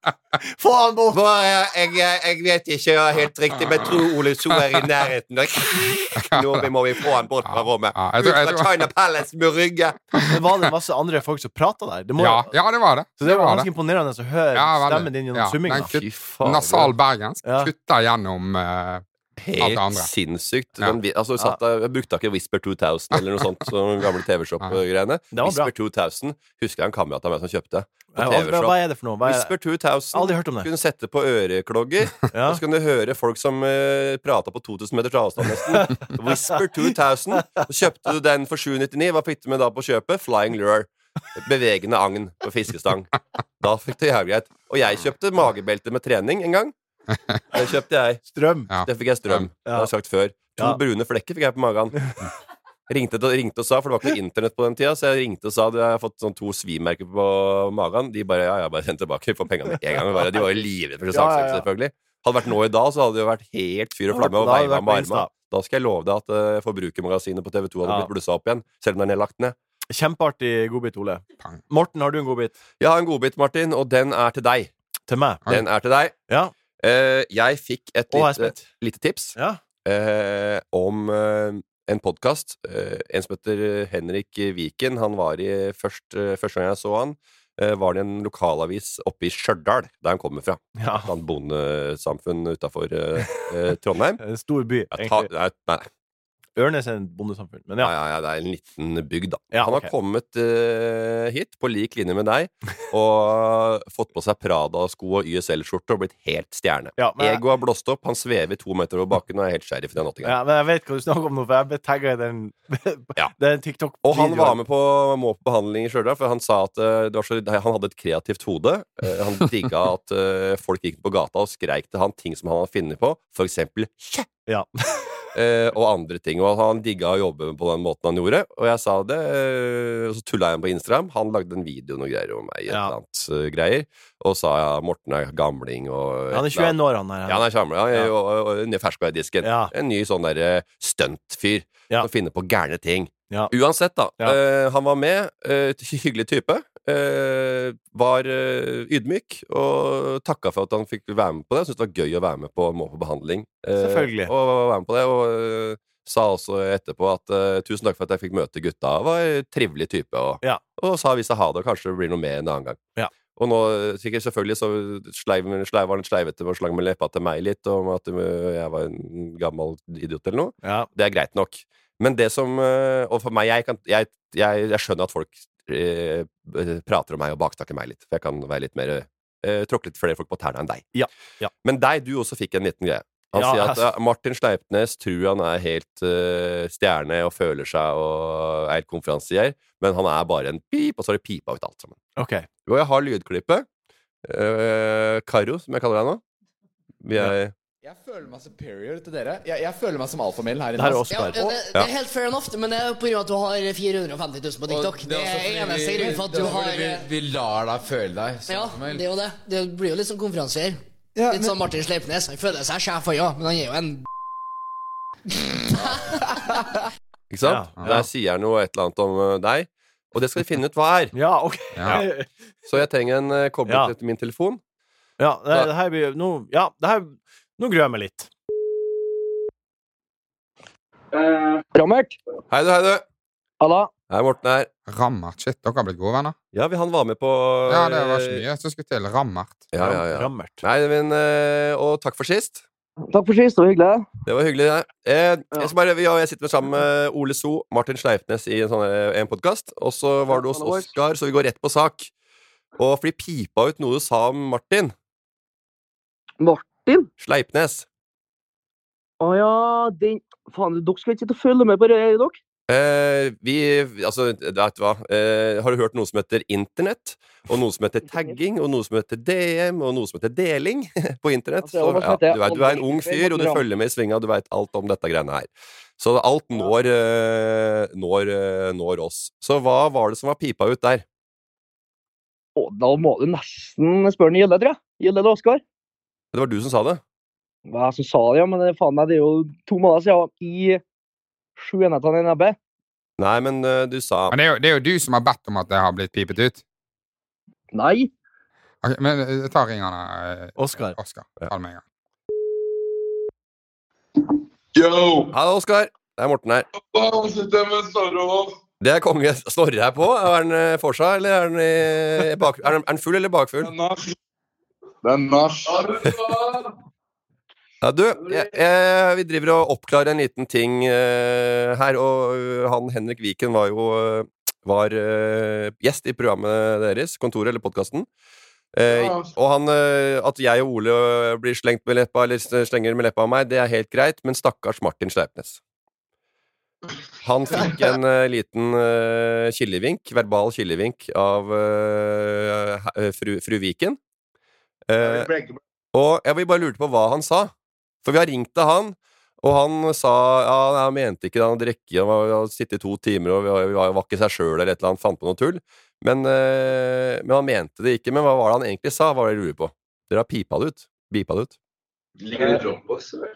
[SPEAKER 3] Få han bort! jeg, jeg, jeg vet ikke helt riktig, men jeg tror Ole So er i nærheten. Nå vi- må vi få han bort fra rommet.
[SPEAKER 4] Ja, jeg tror- jeg
[SPEAKER 3] Ut
[SPEAKER 4] tror-
[SPEAKER 3] fra China Palace med rygge.
[SPEAKER 2] Men var det masse andre folk som prata der? Det må,
[SPEAKER 4] Ja, ja, det var det.
[SPEAKER 2] Så det var
[SPEAKER 4] var
[SPEAKER 2] ganske imponerende å høre
[SPEAKER 4] Ja, veldig.
[SPEAKER 2] stemmen din gjennom
[SPEAKER 4] Ja,
[SPEAKER 2] summinga.
[SPEAKER 4] den kutt-
[SPEAKER 3] faen.
[SPEAKER 4] Nasal bergensk
[SPEAKER 2] Ja.
[SPEAKER 4] kutter gjennom eh, alt det
[SPEAKER 3] Helt
[SPEAKER 4] andre.
[SPEAKER 3] sinnssykt.
[SPEAKER 4] Ja.
[SPEAKER 3] Den, vi- altså, vi satt der, jeg brukte ikke Whisper 2000 eller noe sånt, som gamle TV-shop-greiene.
[SPEAKER 2] Det var bra.
[SPEAKER 3] Whisper 2000 husker jeg en kamerat av meg som kjøpte. På
[SPEAKER 2] Ja, Hva, hva
[SPEAKER 3] TV-shop.
[SPEAKER 2] er det for noe? Hva er det?
[SPEAKER 3] Whisper 2000.
[SPEAKER 2] Aldri hørt om det.
[SPEAKER 3] Kunne sette på øreklogger,
[SPEAKER 2] Ja.
[SPEAKER 3] og så kunne du høre folk som uh, prata på 2000 meters avstand nesten. Whisper 2000. Så kjøpte du den for 799. Hva fikk du med da på kjøpet? Flying lure. Bevegende agn på fiskestang. Da fikk du jævlig greit. Og jeg kjøpte magebelte med trening en gang. Det kjøpte jeg.
[SPEAKER 2] Strøm.
[SPEAKER 4] Ja.
[SPEAKER 3] Det fikk jeg strøm. Det har jeg sagt før. To
[SPEAKER 2] Ja.
[SPEAKER 3] brune flekker fikk jeg på magen. Ringte, til- ringte og sa, for det var ikke noe internett på den tida, så jeg ringte og sa at jeg har fått sånn to svimerker på magen. De bare ja, ja, bare send tilbake. Få pengene med en gang. Bare. De var jo livredde
[SPEAKER 2] Ja,
[SPEAKER 3] for
[SPEAKER 2] ja, ja.
[SPEAKER 3] saksøkelse, selvfølgelig. Hadde det vært nå i dag, så hadde det jo vært helt fyr og flamme
[SPEAKER 2] Da
[SPEAKER 3] og
[SPEAKER 2] hadde det
[SPEAKER 3] veiva
[SPEAKER 2] vært
[SPEAKER 3] med
[SPEAKER 2] på Insta.
[SPEAKER 3] armene. Da skal jeg love deg at eh, Forbrukermagasinet på TV 2 hadde
[SPEAKER 2] Ja.
[SPEAKER 3] blitt blussa opp igjen, selv om det er nedlagt ned.
[SPEAKER 2] Kjempeartig godbit, Ole.
[SPEAKER 4] Pang.
[SPEAKER 2] Morten, har du en godbit?
[SPEAKER 3] Jeg har en godbit, Martin, og den er til deg.
[SPEAKER 2] Til meg?
[SPEAKER 4] Oi.
[SPEAKER 3] Den er til deg.
[SPEAKER 2] Ja.
[SPEAKER 3] Eh, jeg fikk et
[SPEAKER 2] Og jeg er
[SPEAKER 3] lite,
[SPEAKER 2] spent.
[SPEAKER 3] lite tips
[SPEAKER 2] Ja.
[SPEAKER 3] eh, om eh, en podkast. Eh, en som heter Henrik Viken. Han var i først, eh, Første gang jeg så han, eh, var det en lokalavis oppe i Stjørdal, der han kommer fra.
[SPEAKER 2] ja.
[SPEAKER 3] Et annet bondesamfunn utafor eh, eh, Trondheim.
[SPEAKER 2] En stor by,
[SPEAKER 3] Ja, ta,
[SPEAKER 2] egentlig.
[SPEAKER 3] nei, nei, nei,
[SPEAKER 2] Ørnes er en bondesamfunn, men ja.
[SPEAKER 3] nei, nei, det er en liten bygd, da.
[SPEAKER 2] Ja,
[SPEAKER 3] han har
[SPEAKER 2] ok.
[SPEAKER 3] kommet eh, hit, på lik linje med deg, og fått på seg Prada-sko og YSL-skjorte og blitt helt stjerne.
[SPEAKER 2] Ja, men jeg-
[SPEAKER 3] Ego er blåst opp, han svever to meter over bakken og er helt sheriff i den åttingen.
[SPEAKER 2] Ja, men jeg vet hva du snakker om nå, for jeg ble tagga i den,
[SPEAKER 3] Ja.
[SPEAKER 2] den tiktok
[SPEAKER 3] Og han var med på må på behandling i Stjørdal, for han sa at eh, det var så, han hadde et kreativt hode. Eh, han digga at eh, folk gikk på gata og skreik til han ting som han hadde funnet på, for eksempel «Kjæ!»
[SPEAKER 2] Ja.
[SPEAKER 3] Eh, og andre ting. Og han digga å jobbe på den måten han gjorde. Og jeg sa det, eh, og så tulla jeg med på Instagram. Han lagde en video noe greier om meg, et
[SPEAKER 2] Ja.
[SPEAKER 3] eller annet eh, greier, og sa ja, Morten er gamling og
[SPEAKER 2] Han er 21 år, han her.
[SPEAKER 3] Ja, han er kjamla.
[SPEAKER 2] Ja.
[SPEAKER 3] Og, og, og, ned ferska i disken.
[SPEAKER 2] Ja.
[SPEAKER 3] En ny sånn derre stuntfyr
[SPEAKER 2] Ja.
[SPEAKER 3] som finner på gærne ting.
[SPEAKER 2] Ja.
[SPEAKER 3] Uansett, da.
[SPEAKER 2] Ja.
[SPEAKER 3] eh, han var med. eh, t- hyggelig type. eh, var eh, ydmyk og takka for at han fikk være med på det. Syntes det var gøy å være med på Må på behandling. eh,
[SPEAKER 2] Selvfølgelig.
[SPEAKER 3] Og være med på det. Og eh, sa også etterpå at eh, 'tusen takk for at jeg fikk møte gutta'. Var en trivelig type. Og,
[SPEAKER 2] Ja.
[SPEAKER 3] og sa vi sa ha det, og kanskje det blir noe mer en annen gang.
[SPEAKER 2] Ja.
[SPEAKER 3] Og nå eh, sikkert selvfølgelig så sleiv, sleiv, var han sleivete og slang med leppa til meg litt om at eh, jeg var en gammel idiot eller noe.
[SPEAKER 2] Ja.
[SPEAKER 3] Det er greit nok. Men det som øh, Og for meg, jeg, kan, jeg, jeg, jeg skjønner at folk øh, øh, prater om meg og baksnakker meg litt. For jeg kan være litt mer øh, Tråkke litt flere folk på tærne enn deg.
[SPEAKER 2] Ja, ja.
[SPEAKER 3] Men deg, du også fikk en liten greie. Han
[SPEAKER 2] Ja,
[SPEAKER 3] sier at
[SPEAKER 2] altså.
[SPEAKER 3] øh, Martin Sleipnes tror han er helt øh, stjerne og føler seg og er helt konferansier, men han er bare en pip, og så har det pipa ut alt sammen.
[SPEAKER 2] OK.
[SPEAKER 3] Jo, jeg har lydklippet. Øh, Karo, som jeg kaller deg nå. Vi er
[SPEAKER 6] Jeg føler meg superior til dere. Jeg, jeg føler meg som alfamillen her
[SPEAKER 2] Der
[SPEAKER 6] inne.
[SPEAKER 2] er
[SPEAKER 6] ass.
[SPEAKER 2] Oskar.
[SPEAKER 7] Ja, det, det er helt fair enough, men det er jo på grunn av at du har 450 000 på TikTok.
[SPEAKER 6] Og
[SPEAKER 7] Det
[SPEAKER 6] også
[SPEAKER 7] er
[SPEAKER 6] fordi
[SPEAKER 7] eneste
[SPEAKER 6] vi-
[SPEAKER 7] grunn for at
[SPEAKER 6] det
[SPEAKER 7] du
[SPEAKER 6] er fordi
[SPEAKER 7] har
[SPEAKER 6] vi, vi lar deg føle deg som
[SPEAKER 7] Ja,
[SPEAKER 6] alfamill.
[SPEAKER 7] det er jo det. Det blir jo litt som konferansier.
[SPEAKER 6] Ja,
[SPEAKER 7] Litt sånn Martin Sleipnes. Han føler seg sjef, han ja, men han er jo en
[SPEAKER 3] Ikke
[SPEAKER 2] Ja,
[SPEAKER 3] sant?
[SPEAKER 2] ja.
[SPEAKER 3] Der sier jeg noe et eller annet om øh, deg, og det skal vi finne ut hva er.
[SPEAKER 2] Ja, OK. Ja,
[SPEAKER 4] Ja.
[SPEAKER 3] Så jeg trenger en uh, koblet
[SPEAKER 2] Ja.
[SPEAKER 3] til min telefon.
[SPEAKER 2] det, det her blir Nå Ja, det her Nå gruer jeg meg litt.
[SPEAKER 5] Eh,
[SPEAKER 8] Rammert?
[SPEAKER 3] Hei du, hei du.
[SPEAKER 8] Halla?
[SPEAKER 3] Hei, Morten her.
[SPEAKER 4] Rammert. Shit, dere har blitt gode venner.
[SPEAKER 3] Ja, vi- han var med på
[SPEAKER 4] Ja, det var ikke mye som skulle til. Rammert.
[SPEAKER 3] Ja, ja, ja.
[SPEAKER 2] Rammert.
[SPEAKER 3] Nei, men, eh, og takk for sist.
[SPEAKER 8] Takk for sist, det var hyggelig.
[SPEAKER 3] Det var hyggelig. det. Eh, jeg, skal bare, vi, og jeg sitter med sammen med Ole So, Martin Sleipnes i en, sånn, her- en podkast. Og så var du hos
[SPEAKER 8] Ja, hallo, boys.
[SPEAKER 3] Oskar, så vi går rett på sak. Og fordi pipa ut noe du sa om Martin
[SPEAKER 8] Martin?
[SPEAKER 3] Sleipnes.
[SPEAKER 8] Å ja, den Faen, dere skal ikke sitte og følge med på det, her, dere?
[SPEAKER 3] Eh, vi Altså, vet du hva. Eh, har du hørt noe som heter internett? Og noe som heter tagging, og noe som heter DM, og noe som heter deling på internett?
[SPEAKER 8] Altså, jeg
[SPEAKER 3] Så,
[SPEAKER 8] må
[SPEAKER 3] ja,
[SPEAKER 8] si at jeg
[SPEAKER 3] du, er, du er en
[SPEAKER 8] aldri-
[SPEAKER 3] ung fyr, og du
[SPEAKER 8] Morten Ramm.
[SPEAKER 3] følger med i svinga, du veit alt om dette greiene her. Så alt når, eh, når, eh, når oss. Så hva var det som var pipa ut der?
[SPEAKER 8] Å, da må du nesten spørre Gjelle, tror jeg. Gjelle eller Oskar?
[SPEAKER 3] Det var du som sa det.
[SPEAKER 8] Det var jeg som sa det, ja, men det, er faen meg, det er jo to måneder siden jeg var i sju enhetene i nebbet.
[SPEAKER 3] Nei, men eh, du sa
[SPEAKER 4] Men det er, jo, det er jo du som har bedt om at det har blitt pipet ut.
[SPEAKER 8] Nei.
[SPEAKER 4] Ok, men eh, ta ringene,
[SPEAKER 2] Oskar.
[SPEAKER 4] Oskar. Ta det med en gang.
[SPEAKER 9] Yo!
[SPEAKER 3] Hallo, Oskar. Det er Morten her.
[SPEAKER 9] Hva sitter jeg med Snorre og
[SPEAKER 3] Det er konge. Snorre her på. Er han eh, for seg, eller er han, i bak, er han, er han full eller bakfull?
[SPEAKER 9] Det er nach. Det er nach.
[SPEAKER 3] Ja, du, jeg, jeg, vi driver og oppklarer en liten ting eh, her, og eh, han Henrik Viken var jo eh, var, eh, gjest i programmet deres, kontoret eller podkasten. Eh,
[SPEAKER 9] Ja.
[SPEAKER 3] Og han, eh, at jeg og Ole eh, blir slengt med leppa, eller s- slenger med leppa av meg, det er helt greit, men stakkars Martin Sleipnes. Han fikk en eh, liten eh, kilevink, verbal kilevink, av eh, he- fru, fru Viken. Eh, og jeg vil bare lurte på hva han sa. For vi har ringt til han, Og han sa ja, nei, han mente ikke det, han hadde drukket, han var- hadde sittet i to timer og var, var, var ikke seg sjøl eller et eller annet, fant på noe tull. Men, eh, men han mente det ikke. Men hva var det han egentlig sa? Hva var det jeg lurer på? Dere har pipa det ut. Bipa det ut.
[SPEAKER 9] Ligger det Dropbox, eller?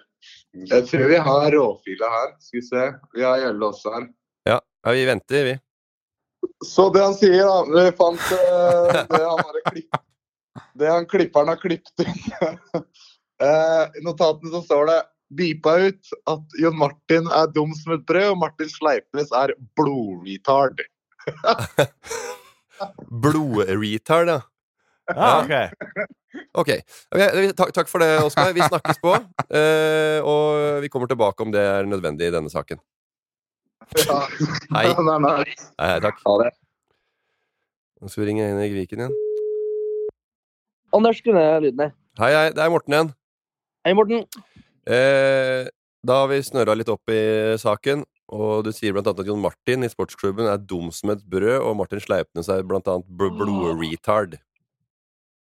[SPEAKER 9] Jeg tror vi har råfila her. Skal vi se. Vi har Gjelle også her.
[SPEAKER 3] Ja, ja vi venter, vi.
[SPEAKER 9] Så det han sier, da Vi fant eh, det han bare klipp... Det han klipperen har klippet ut. Eh, I notatene så står det Bipa ut at Jon Martin er dum som et brød, og Martin Sleipnes er blodvitard.
[SPEAKER 3] Blodretard, ja.
[SPEAKER 2] Ja, ok.
[SPEAKER 3] Ok. Ok, Takk, takk for det, Oskar. Vi snakkes på. eh, og vi kommer tilbake om det er nødvendig i denne saken.
[SPEAKER 9] Ja.
[SPEAKER 3] Hei.
[SPEAKER 9] Nei, nei.
[SPEAKER 3] Hei, hei takk.
[SPEAKER 9] Ha det.
[SPEAKER 3] Nå skal vi ringe Henrik Viken igjen.
[SPEAKER 8] Anders, skru ned lyden her.
[SPEAKER 3] Hei, hei. Det er Morten igjen.
[SPEAKER 8] Hei, Morten.
[SPEAKER 3] Eh, da har vi snørra litt opp i saken, og du sier blant annet at Jon Martin i sportsklubben er dum som et brød, og Martin Sleipnes er blant annet bl- blodretard.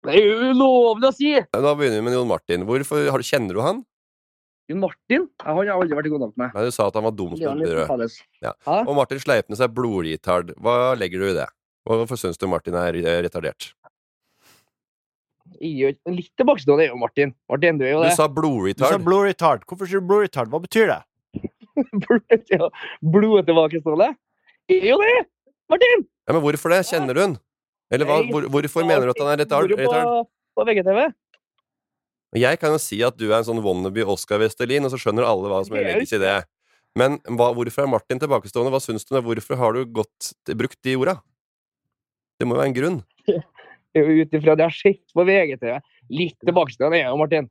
[SPEAKER 8] Det er jo ulovlig å si!
[SPEAKER 3] Eh, Da begynner vi med Jon Martin. Hvorfor, har, du- kjenner du han?
[SPEAKER 8] Jon Martin? Ja, Han har jeg aldri vært i kontakt med.
[SPEAKER 3] Nei, du sa at han var dum som
[SPEAKER 8] Leon
[SPEAKER 3] et brød.
[SPEAKER 8] Litzfeldes.
[SPEAKER 3] Og Martin Sleipnes er blodretard. Hva legger du i det? Hvorfor syns du Martin er eh, retardert?
[SPEAKER 8] Jeg er jo ikke- Litt tilbakestående er jo Martin. Martin, du er jo
[SPEAKER 3] Du
[SPEAKER 8] det.
[SPEAKER 3] sa
[SPEAKER 2] Du sa
[SPEAKER 3] blodretard.
[SPEAKER 2] blue retard. Hvorfor sier du blue retard? Hva betyr det?
[SPEAKER 8] Blod- ja, Blodtilbakestående? Jeg er jo det! Martin!
[SPEAKER 3] Ja, men hvorfor det? Kjenner du han? Eller hva,
[SPEAKER 8] Nei.
[SPEAKER 3] hvor, hvorfor mener du at han er retard?
[SPEAKER 8] Bor jo
[SPEAKER 3] retard?
[SPEAKER 8] På, på VGTV.
[SPEAKER 3] Og Jeg kan jo si at du er en sånn wannabe Oscar Westerlin, og så skjønner alle hva som
[SPEAKER 8] Det er
[SPEAKER 3] legges i det. Men hva, hvorfor er Martin tilbakestående? Hva syns du om det? Hvorfor har du godt brukt de orda? Det må jo være en grunn.
[SPEAKER 8] Det er jo Ut ifra det jeg har sett på VGTV. Litt tilbakestående er jeg jo Martin.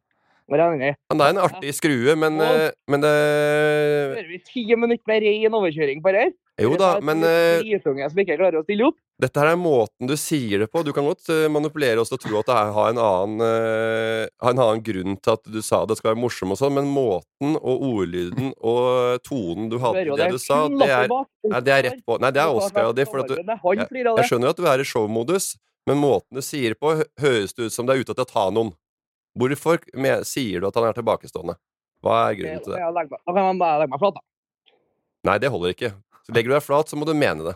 [SPEAKER 8] Men jeg er enig.
[SPEAKER 3] Han er en artig skrue, men, eh, men det
[SPEAKER 8] Hører vi ti minutter med rein overkjøring på her?
[SPEAKER 3] Jo da, men eh,
[SPEAKER 8] Dritunge som ikke klarer å stille opp?
[SPEAKER 3] dette her er måten du sier det på. Du kan godt eh, manipulere oss til å tro at det her har en annen, eh, har en annen grunn til at du sa det skal være morsom og sånn, men måten og ordlyden og eh, tonen du hadde i det du sa, det er, nei, det er rett på. Nei, det er Oscar og de, for at du
[SPEAKER 8] Han flirer av
[SPEAKER 3] Jeg
[SPEAKER 8] det.
[SPEAKER 3] skjønner at du er i showmodus, men måten du sier det på, hø- høres det ut som du er ute etter å ta noen. Hvorfor me- sier du at han er tilbakestående? Hva er
[SPEAKER 8] Det-
[SPEAKER 3] grunnen til det?
[SPEAKER 8] jeg legger meg- Da kan man bare legge meg flat, da.
[SPEAKER 3] Nei, det holder ikke. Så legger du deg flat, så må du mene det.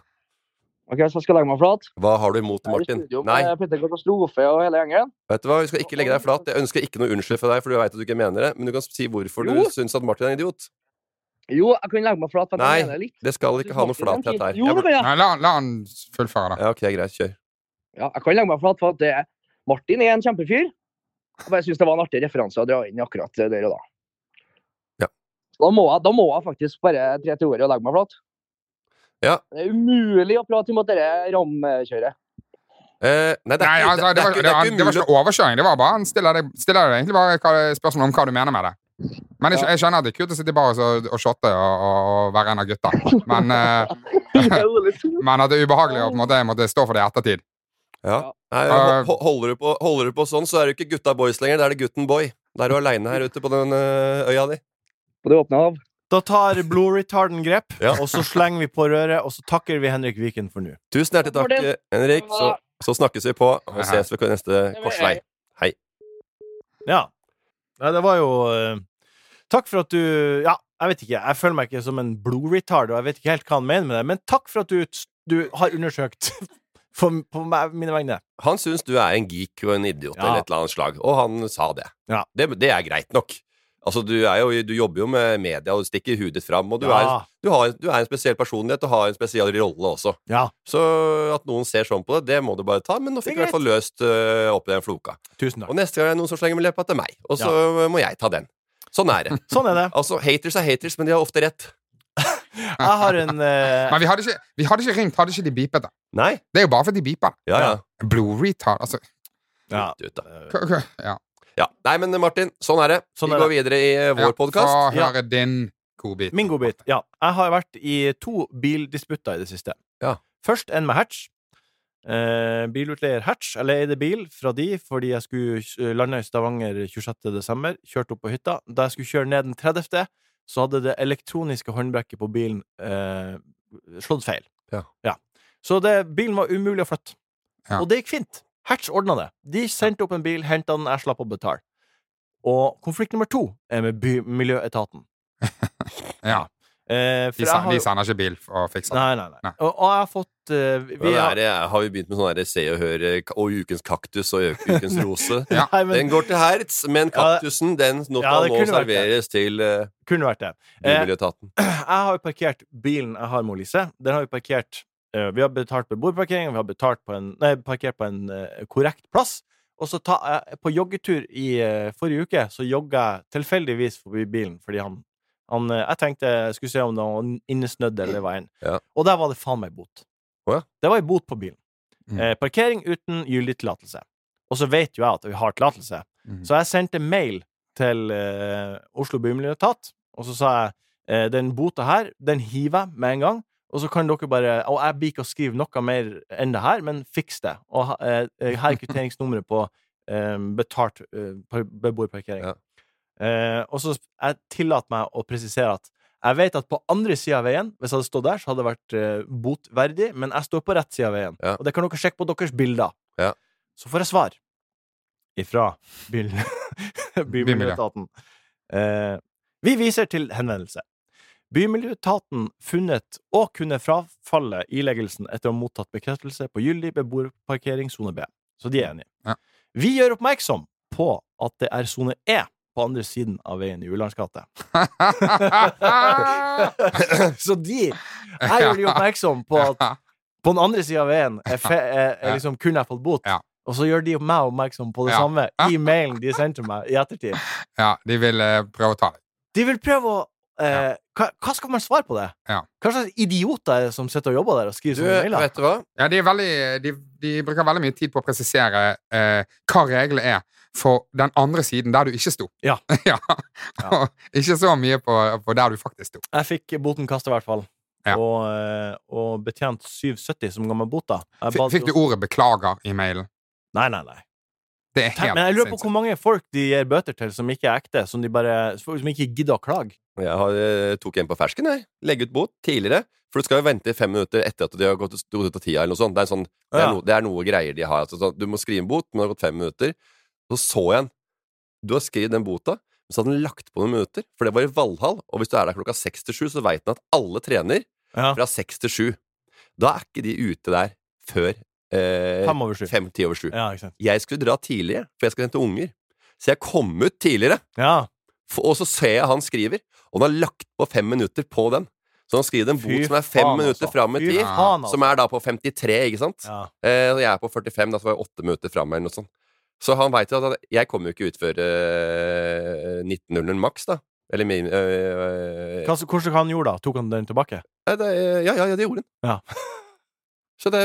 [SPEAKER 8] Ok, så skal jeg legge meg flat.
[SPEAKER 3] Hva har du imot
[SPEAKER 8] Jeg er i
[SPEAKER 3] Martin?
[SPEAKER 8] studio
[SPEAKER 3] Nei,
[SPEAKER 8] med Petter Katastrofe og hele gjengen.
[SPEAKER 3] vet du hva, vi skal ikke legge deg flat. Jeg ønsker ikke noe unnskyld for deg, for du veit at du ikke mener det, men du kan si hvorfor du
[SPEAKER 8] Jo.
[SPEAKER 3] syns at Martin er en idiot.
[SPEAKER 8] Jo, jeg kan legge meg flat. men jeg
[SPEAKER 3] Nei.
[SPEAKER 8] mener litt.
[SPEAKER 3] Det skal ikke ha noe flathet her.
[SPEAKER 8] Jo, det
[SPEAKER 3] Jeg-
[SPEAKER 4] Nei,
[SPEAKER 8] kan jeg.
[SPEAKER 4] la, la han fullføre, da.
[SPEAKER 3] Ja, ok, greit, kjør.
[SPEAKER 8] Ja, jeg kan legge meg flat for at det, Martin er en kjempefyr. Jeg bare syns det var en artig referanse å dra inn akkurat der og da.
[SPEAKER 3] Ja.
[SPEAKER 8] Da må, jeg, da må jeg faktisk bare tre til ordet og legge meg flat.
[SPEAKER 3] Ja.
[SPEAKER 8] Det er umulig å prate imot dette ramkjøret.
[SPEAKER 3] Eh, nei, det er
[SPEAKER 4] Nei,
[SPEAKER 3] ikke,
[SPEAKER 4] altså, det,
[SPEAKER 3] det er
[SPEAKER 4] var,
[SPEAKER 3] ikke,
[SPEAKER 4] det, var, det var
[SPEAKER 3] umulig.
[SPEAKER 4] ikke overkjøring. Det var bare han stiller deg, stiller deg egentlig bare hva- spørsmål om hva du mener med det. Men jeg, jeg skjønner at det er kult å sitte bare og så- og shotte og, og, og være en av gutta. Men, eh, men at det er ubehagelig å på en måte måtte stå for det i ettertid.
[SPEAKER 3] Ja. Nei,
[SPEAKER 4] Eh,
[SPEAKER 3] ho- holder, du på, holder du på sånn, så er du ikke gutta boys lenger. Da er det gutten boy. Da er du aleine her ute på den eh, øya di.
[SPEAKER 8] På det åpne hav.
[SPEAKER 2] Da tar blue retarden grep,
[SPEAKER 3] Ja.
[SPEAKER 2] og så slenger vi på røret, og så takker vi Henrik Viken for nå.
[SPEAKER 3] Tusen hjertelig takk,
[SPEAKER 8] Martin.
[SPEAKER 3] Henrik. Så, så snakkes vi på, og ses ved neste korsvei.
[SPEAKER 2] Ja. Nei, det var jo eh, Takk for at du Ja, jeg vet ikke. Jeg føler meg ikke som en blue retard, og jeg vet ikke helt hva han mener med det, men takk for at du, du har undersøkt for, på meg, mine vegne.
[SPEAKER 3] Han syns du er en geek og en idiot
[SPEAKER 2] Ja.
[SPEAKER 3] eller et eller annet slag, og han sa det.
[SPEAKER 2] Ja.
[SPEAKER 3] Det, det er greit nok. Altså, du, er jo, du jobber jo med media, og du stikker hudet ditt fram, og du,
[SPEAKER 2] ja.
[SPEAKER 3] er, du, har, du er en spesiell personlighet og har en spesiell rolle også.
[SPEAKER 2] ja.
[SPEAKER 3] Så at noen ser sånn på det, det må du bare ta, men nå
[SPEAKER 2] Det er
[SPEAKER 3] fikk du i hvert fall løst eh, opp i den floka.
[SPEAKER 2] Tusen
[SPEAKER 3] Og
[SPEAKER 2] takk.
[SPEAKER 3] neste gang er det noen som slenger med leppa til meg, og så eh, må jeg ta den. Sånn er det.
[SPEAKER 2] Sånn er det.
[SPEAKER 3] Altså, haters er haters, men de har ofte rett.
[SPEAKER 2] Jeg har en eh,
[SPEAKER 4] Men vi hadde ikke, vi hadde ikke ringt, hadde ikke de beepet det.
[SPEAKER 3] Nei?
[SPEAKER 4] Det er jo bare fordi de beeper det.
[SPEAKER 3] Ja, ja.
[SPEAKER 4] Blue retard, altså
[SPEAKER 2] ja.
[SPEAKER 3] Ut, da.
[SPEAKER 4] k- k- Ja.
[SPEAKER 3] ja. Nei, men Martin, sånn er det.
[SPEAKER 2] Sånn
[SPEAKER 3] vi
[SPEAKER 2] er
[SPEAKER 3] går videre i eh, vår podkast.
[SPEAKER 4] Få
[SPEAKER 2] Ja.
[SPEAKER 4] høre din godbit.
[SPEAKER 2] Min godbit. Ja. Jeg har vært i to bildisputter i det siste.
[SPEAKER 3] Ja.
[SPEAKER 2] Først en med Hatch. Eh, bilutleier Hatch. Jeg leide bil fra de fordi jeg skulle eh, lande i Stavanger 26. desember. Kjørte opp på hytta. Da jeg skulle kjøre ned den 30., så hadde det elektroniske håndbrekket på bilen eh, slått feil.
[SPEAKER 3] Ja.
[SPEAKER 2] Så det, bilen var umulig å flytte.
[SPEAKER 4] Ja.
[SPEAKER 2] Og det gikk fint. Hatch ordna det. De sendte opp en bil, henta den, jeg slapp å betale. Og konflikt nummer to er med by miljøetaten.
[SPEAKER 4] Ja.
[SPEAKER 2] Eh, for
[SPEAKER 4] De,
[SPEAKER 2] jeg
[SPEAKER 4] sa-
[SPEAKER 2] har
[SPEAKER 4] de
[SPEAKER 2] jo-
[SPEAKER 4] sender ikke bil for å fikse det.
[SPEAKER 2] Nei, nei, nei.
[SPEAKER 4] Nei.
[SPEAKER 2] Og, og jeg har fått eh, vi
[SPEAKER 3] Men
[SPEAKER 2] har-
[SPEAKER 3] er det, har vi begynt med sånn her Se og Hør eh, k- og Ukens kaktus og ø- Ukens rose?
[SPEAKER 4] Ja.
[SPEAKER 2] Nei, men
[SPEAKER 3] Den går til Hertz, men
[SPEAKER 2] Ja, det-
[SPEAKER 3] kaktusen den nå
[SPEAKER 2] Ja,
[SPEAKER 3] kan
[SPEAKER 2] det
[SPEAKER 3] nå
[SPEAKER 2] kunne vært
[SPEAKER 3] serveres til eh,
[SPEAKER 2] kunne vært det. Eh,
[SPEAKER 3] Bymiljøetaten.
[SPEAKER 2] jeg har jo parkert bilen jeg har med Lise. Den har vi parkert eh, Vi har betalt beboerparkering, vi har betalt på en, nei, parkert på en eh, korrekt plass. Og så ta, jeg- på joggetur i eh, forrige uke så jogga jeg tilfeldigvis forbi bilen fordi han, han eh, Jeg tenkte jeg skulle se om det var innesnødd eller var en.
[SPEAKER 3] Ja.
[SPEAKER 2] Og der var det faen meg bot.
[SPEAKER 3] Å ja.
[SPEAKER 2] Det var ei bot på bilen.
[SPEAKER 4] Mm.
[SPEAKER 2] Eh, parkering uten gyldig tillatelse. Og så vet jo jeg at vi har tillatelse.
[SPEAKER 4] Mhm.
[SPEAKER 2] Så jeg sendte mail til eh, Oslo Bymiljøetat, og så sa jeg eh, den bota her, den hiver jeg med en gang. Og så kan dere bare Og jeg blir ikke å skrive noe mer enn det her, men fiks det. Og ha- eh, her er kvitteringsnummeret på eh, betalt eh, par- beboerparkering.
[SPEAKER 3] Ja.
[SPEAKER 2] Eh, og så sp- jeg tillater meg å presisere at jeg vet at på andre sida av veien, hvis jeg hadde stått der, så hadde det vært eh, botverdig, men jeg står på rett side av veien.
[SPEAKER 3] Ja.
[SPEAKER 2] Og det kan dere sjekke på deres bilder.
[SPEAKER 3] Ja.
[SPEAKER 2] Så får jeg svar ifra bil- Bymiljøetaten. Eh, vi viser til henvendelse. Bymiljøetaten funnet å kunne frafalle ileggelsen etter å ha mottatt bekreftelse på gyldig beboerparkering sone B. Så de er enige.
[SPEAKER 4] Ja.
[SPEAKER 2] Vi gjør oppmerksom på at det er sone E på andre siden av veien i Ulands gate. Så de Jeg gjør de oppmerksom
[SPEAKER 4] Mm.
[SPEAKER 2] på at på den andre siden av veien er fe er, er liksom kun jeg fått bot.
[SPEAKER 4] Ja.
[SPEAKER 2] Og så gjør de meg oppmerksom på det
[SPEAKER 4] Ja.
[SPEAKER 2] samme i mailen de sendte meg i ettertid.
[SPEAKER 4] Ja, de vil eh, prøve å ta deg.
[SPEAKER 2] De vil prøve å eh, hva, hva skal man svare på det?
[SPEAKER 4] Ja.
[SPEAKER 2] Hva slags idioter er det som sitter og jobber der og skriver
[SPEAKER 3] Du,
[SPEAKER 2] sånne mailer?
[SPEAKER 3] vet du hva?
[SPEAKER 4] Ja, de, er veldig, de, de bruker veldig mye tid på å presisere eh, hva reglene er for den andre siden der du ikke sto.
[SPEAKER 2] Ja.
[SPEAKER 4] Ja. Og ikke så mye på, på der du faktisk sto.
[SPEAKER 2] Jeg fikk boten kasta, i hvert fall.
[SPEAKER 4] Ja.
[SPEAKER 2] Og, eh, og betjent 770 som ga meg bota. Jeg
[SPEAKER 4] F
[SPEAKER 2] bad
[SPEAKER 4] fikk du
[SPEAKER 2] jo-
[SPEAKER 4] ordet 'beklager' i mailen?
[SPEAKER 2] Nei, nei, nei.
[SPEAKER 4] Det er
[SPEAKER 2] Tenk,
[SPEAKER 4] helt
[SPEAKER 2] men jeg lurer på
[SPEAKER 4] sinnssykt.
[SPEAKER 2] hvor mange folk de gir bøter til som ikke er ekte, som, de bare, som ikke gidder å klage.
[SPEAKER 3] Jeg har, eh, tok en på fersken, jeg. Legge ut bot tidligere. For du skal jo vente fem minutter etter at de har gått gått ut av tida, eller noe sånt. Det er, sånn, det er,
[SPEAKER 2] Ja.
[SPEAKER 3] no, det er noe greier de har. Altså, sånn, du må skrive en bot, men det har gått fem minutter. Så så jeg en. Du har skrevet den bota, men så hadde den lagt på noen minutter. For det var i Valhall, og hvis du er der klokka seks til sju, så veit den at alle trener
[SPEAKER 2] Ja.
[SPEAKER 3] fra seks til sju. Da er ikke de ute der før eh,
[SPEAKER 2] Fem over sju.
[SPEAKER 3] fem-ti over sju.
[SPEAKER 2] Ja, ikke sant.
[SPEAKER 3] Jeg skulle dra tidligere, for jeg skal hente unger. Så jeg kom ut tidligere.
[SPEAKER 2] Ja.
[SPEAKER 3] For, og så ser jeg han skriver, og han har lagt på fem minutter på den. Så han skriver en bot
[SPEAKER 2] Fy
[SPEAKER 3] som er fem
[SPEAKER 2] faen,
[SPEAKER 3] minutter
[SPEAKER 2] altså.
[SPEAKER 3] fram i
[SPEAKER 2] Fy
[SPEAKER 3] tid,
[SPEAKER 2] faen,
[SPEAKER 3] som
[SPEAKER 2] altså.
[SPEAKER 3] er da på 53, ikke sant?
[SPEAKER 2] Ja.
[SPEAKER 3] Eh, og jeg er på 45, da så var jeg åtte minutter fram eller noe sånt. Så han veit jo at han- jeg kommer jo ikke ut før eh, 19.00 maks, da. Eller min eh,
[SPEAKER 2] Hva, hvordan han gjorde da? Tok han den tilbake?
[SPEAKER 3] Nei, det, ja, ja, ja, det gjorde den.
[SPEAKER 2] Ja.
[SPEAKER 3] så det,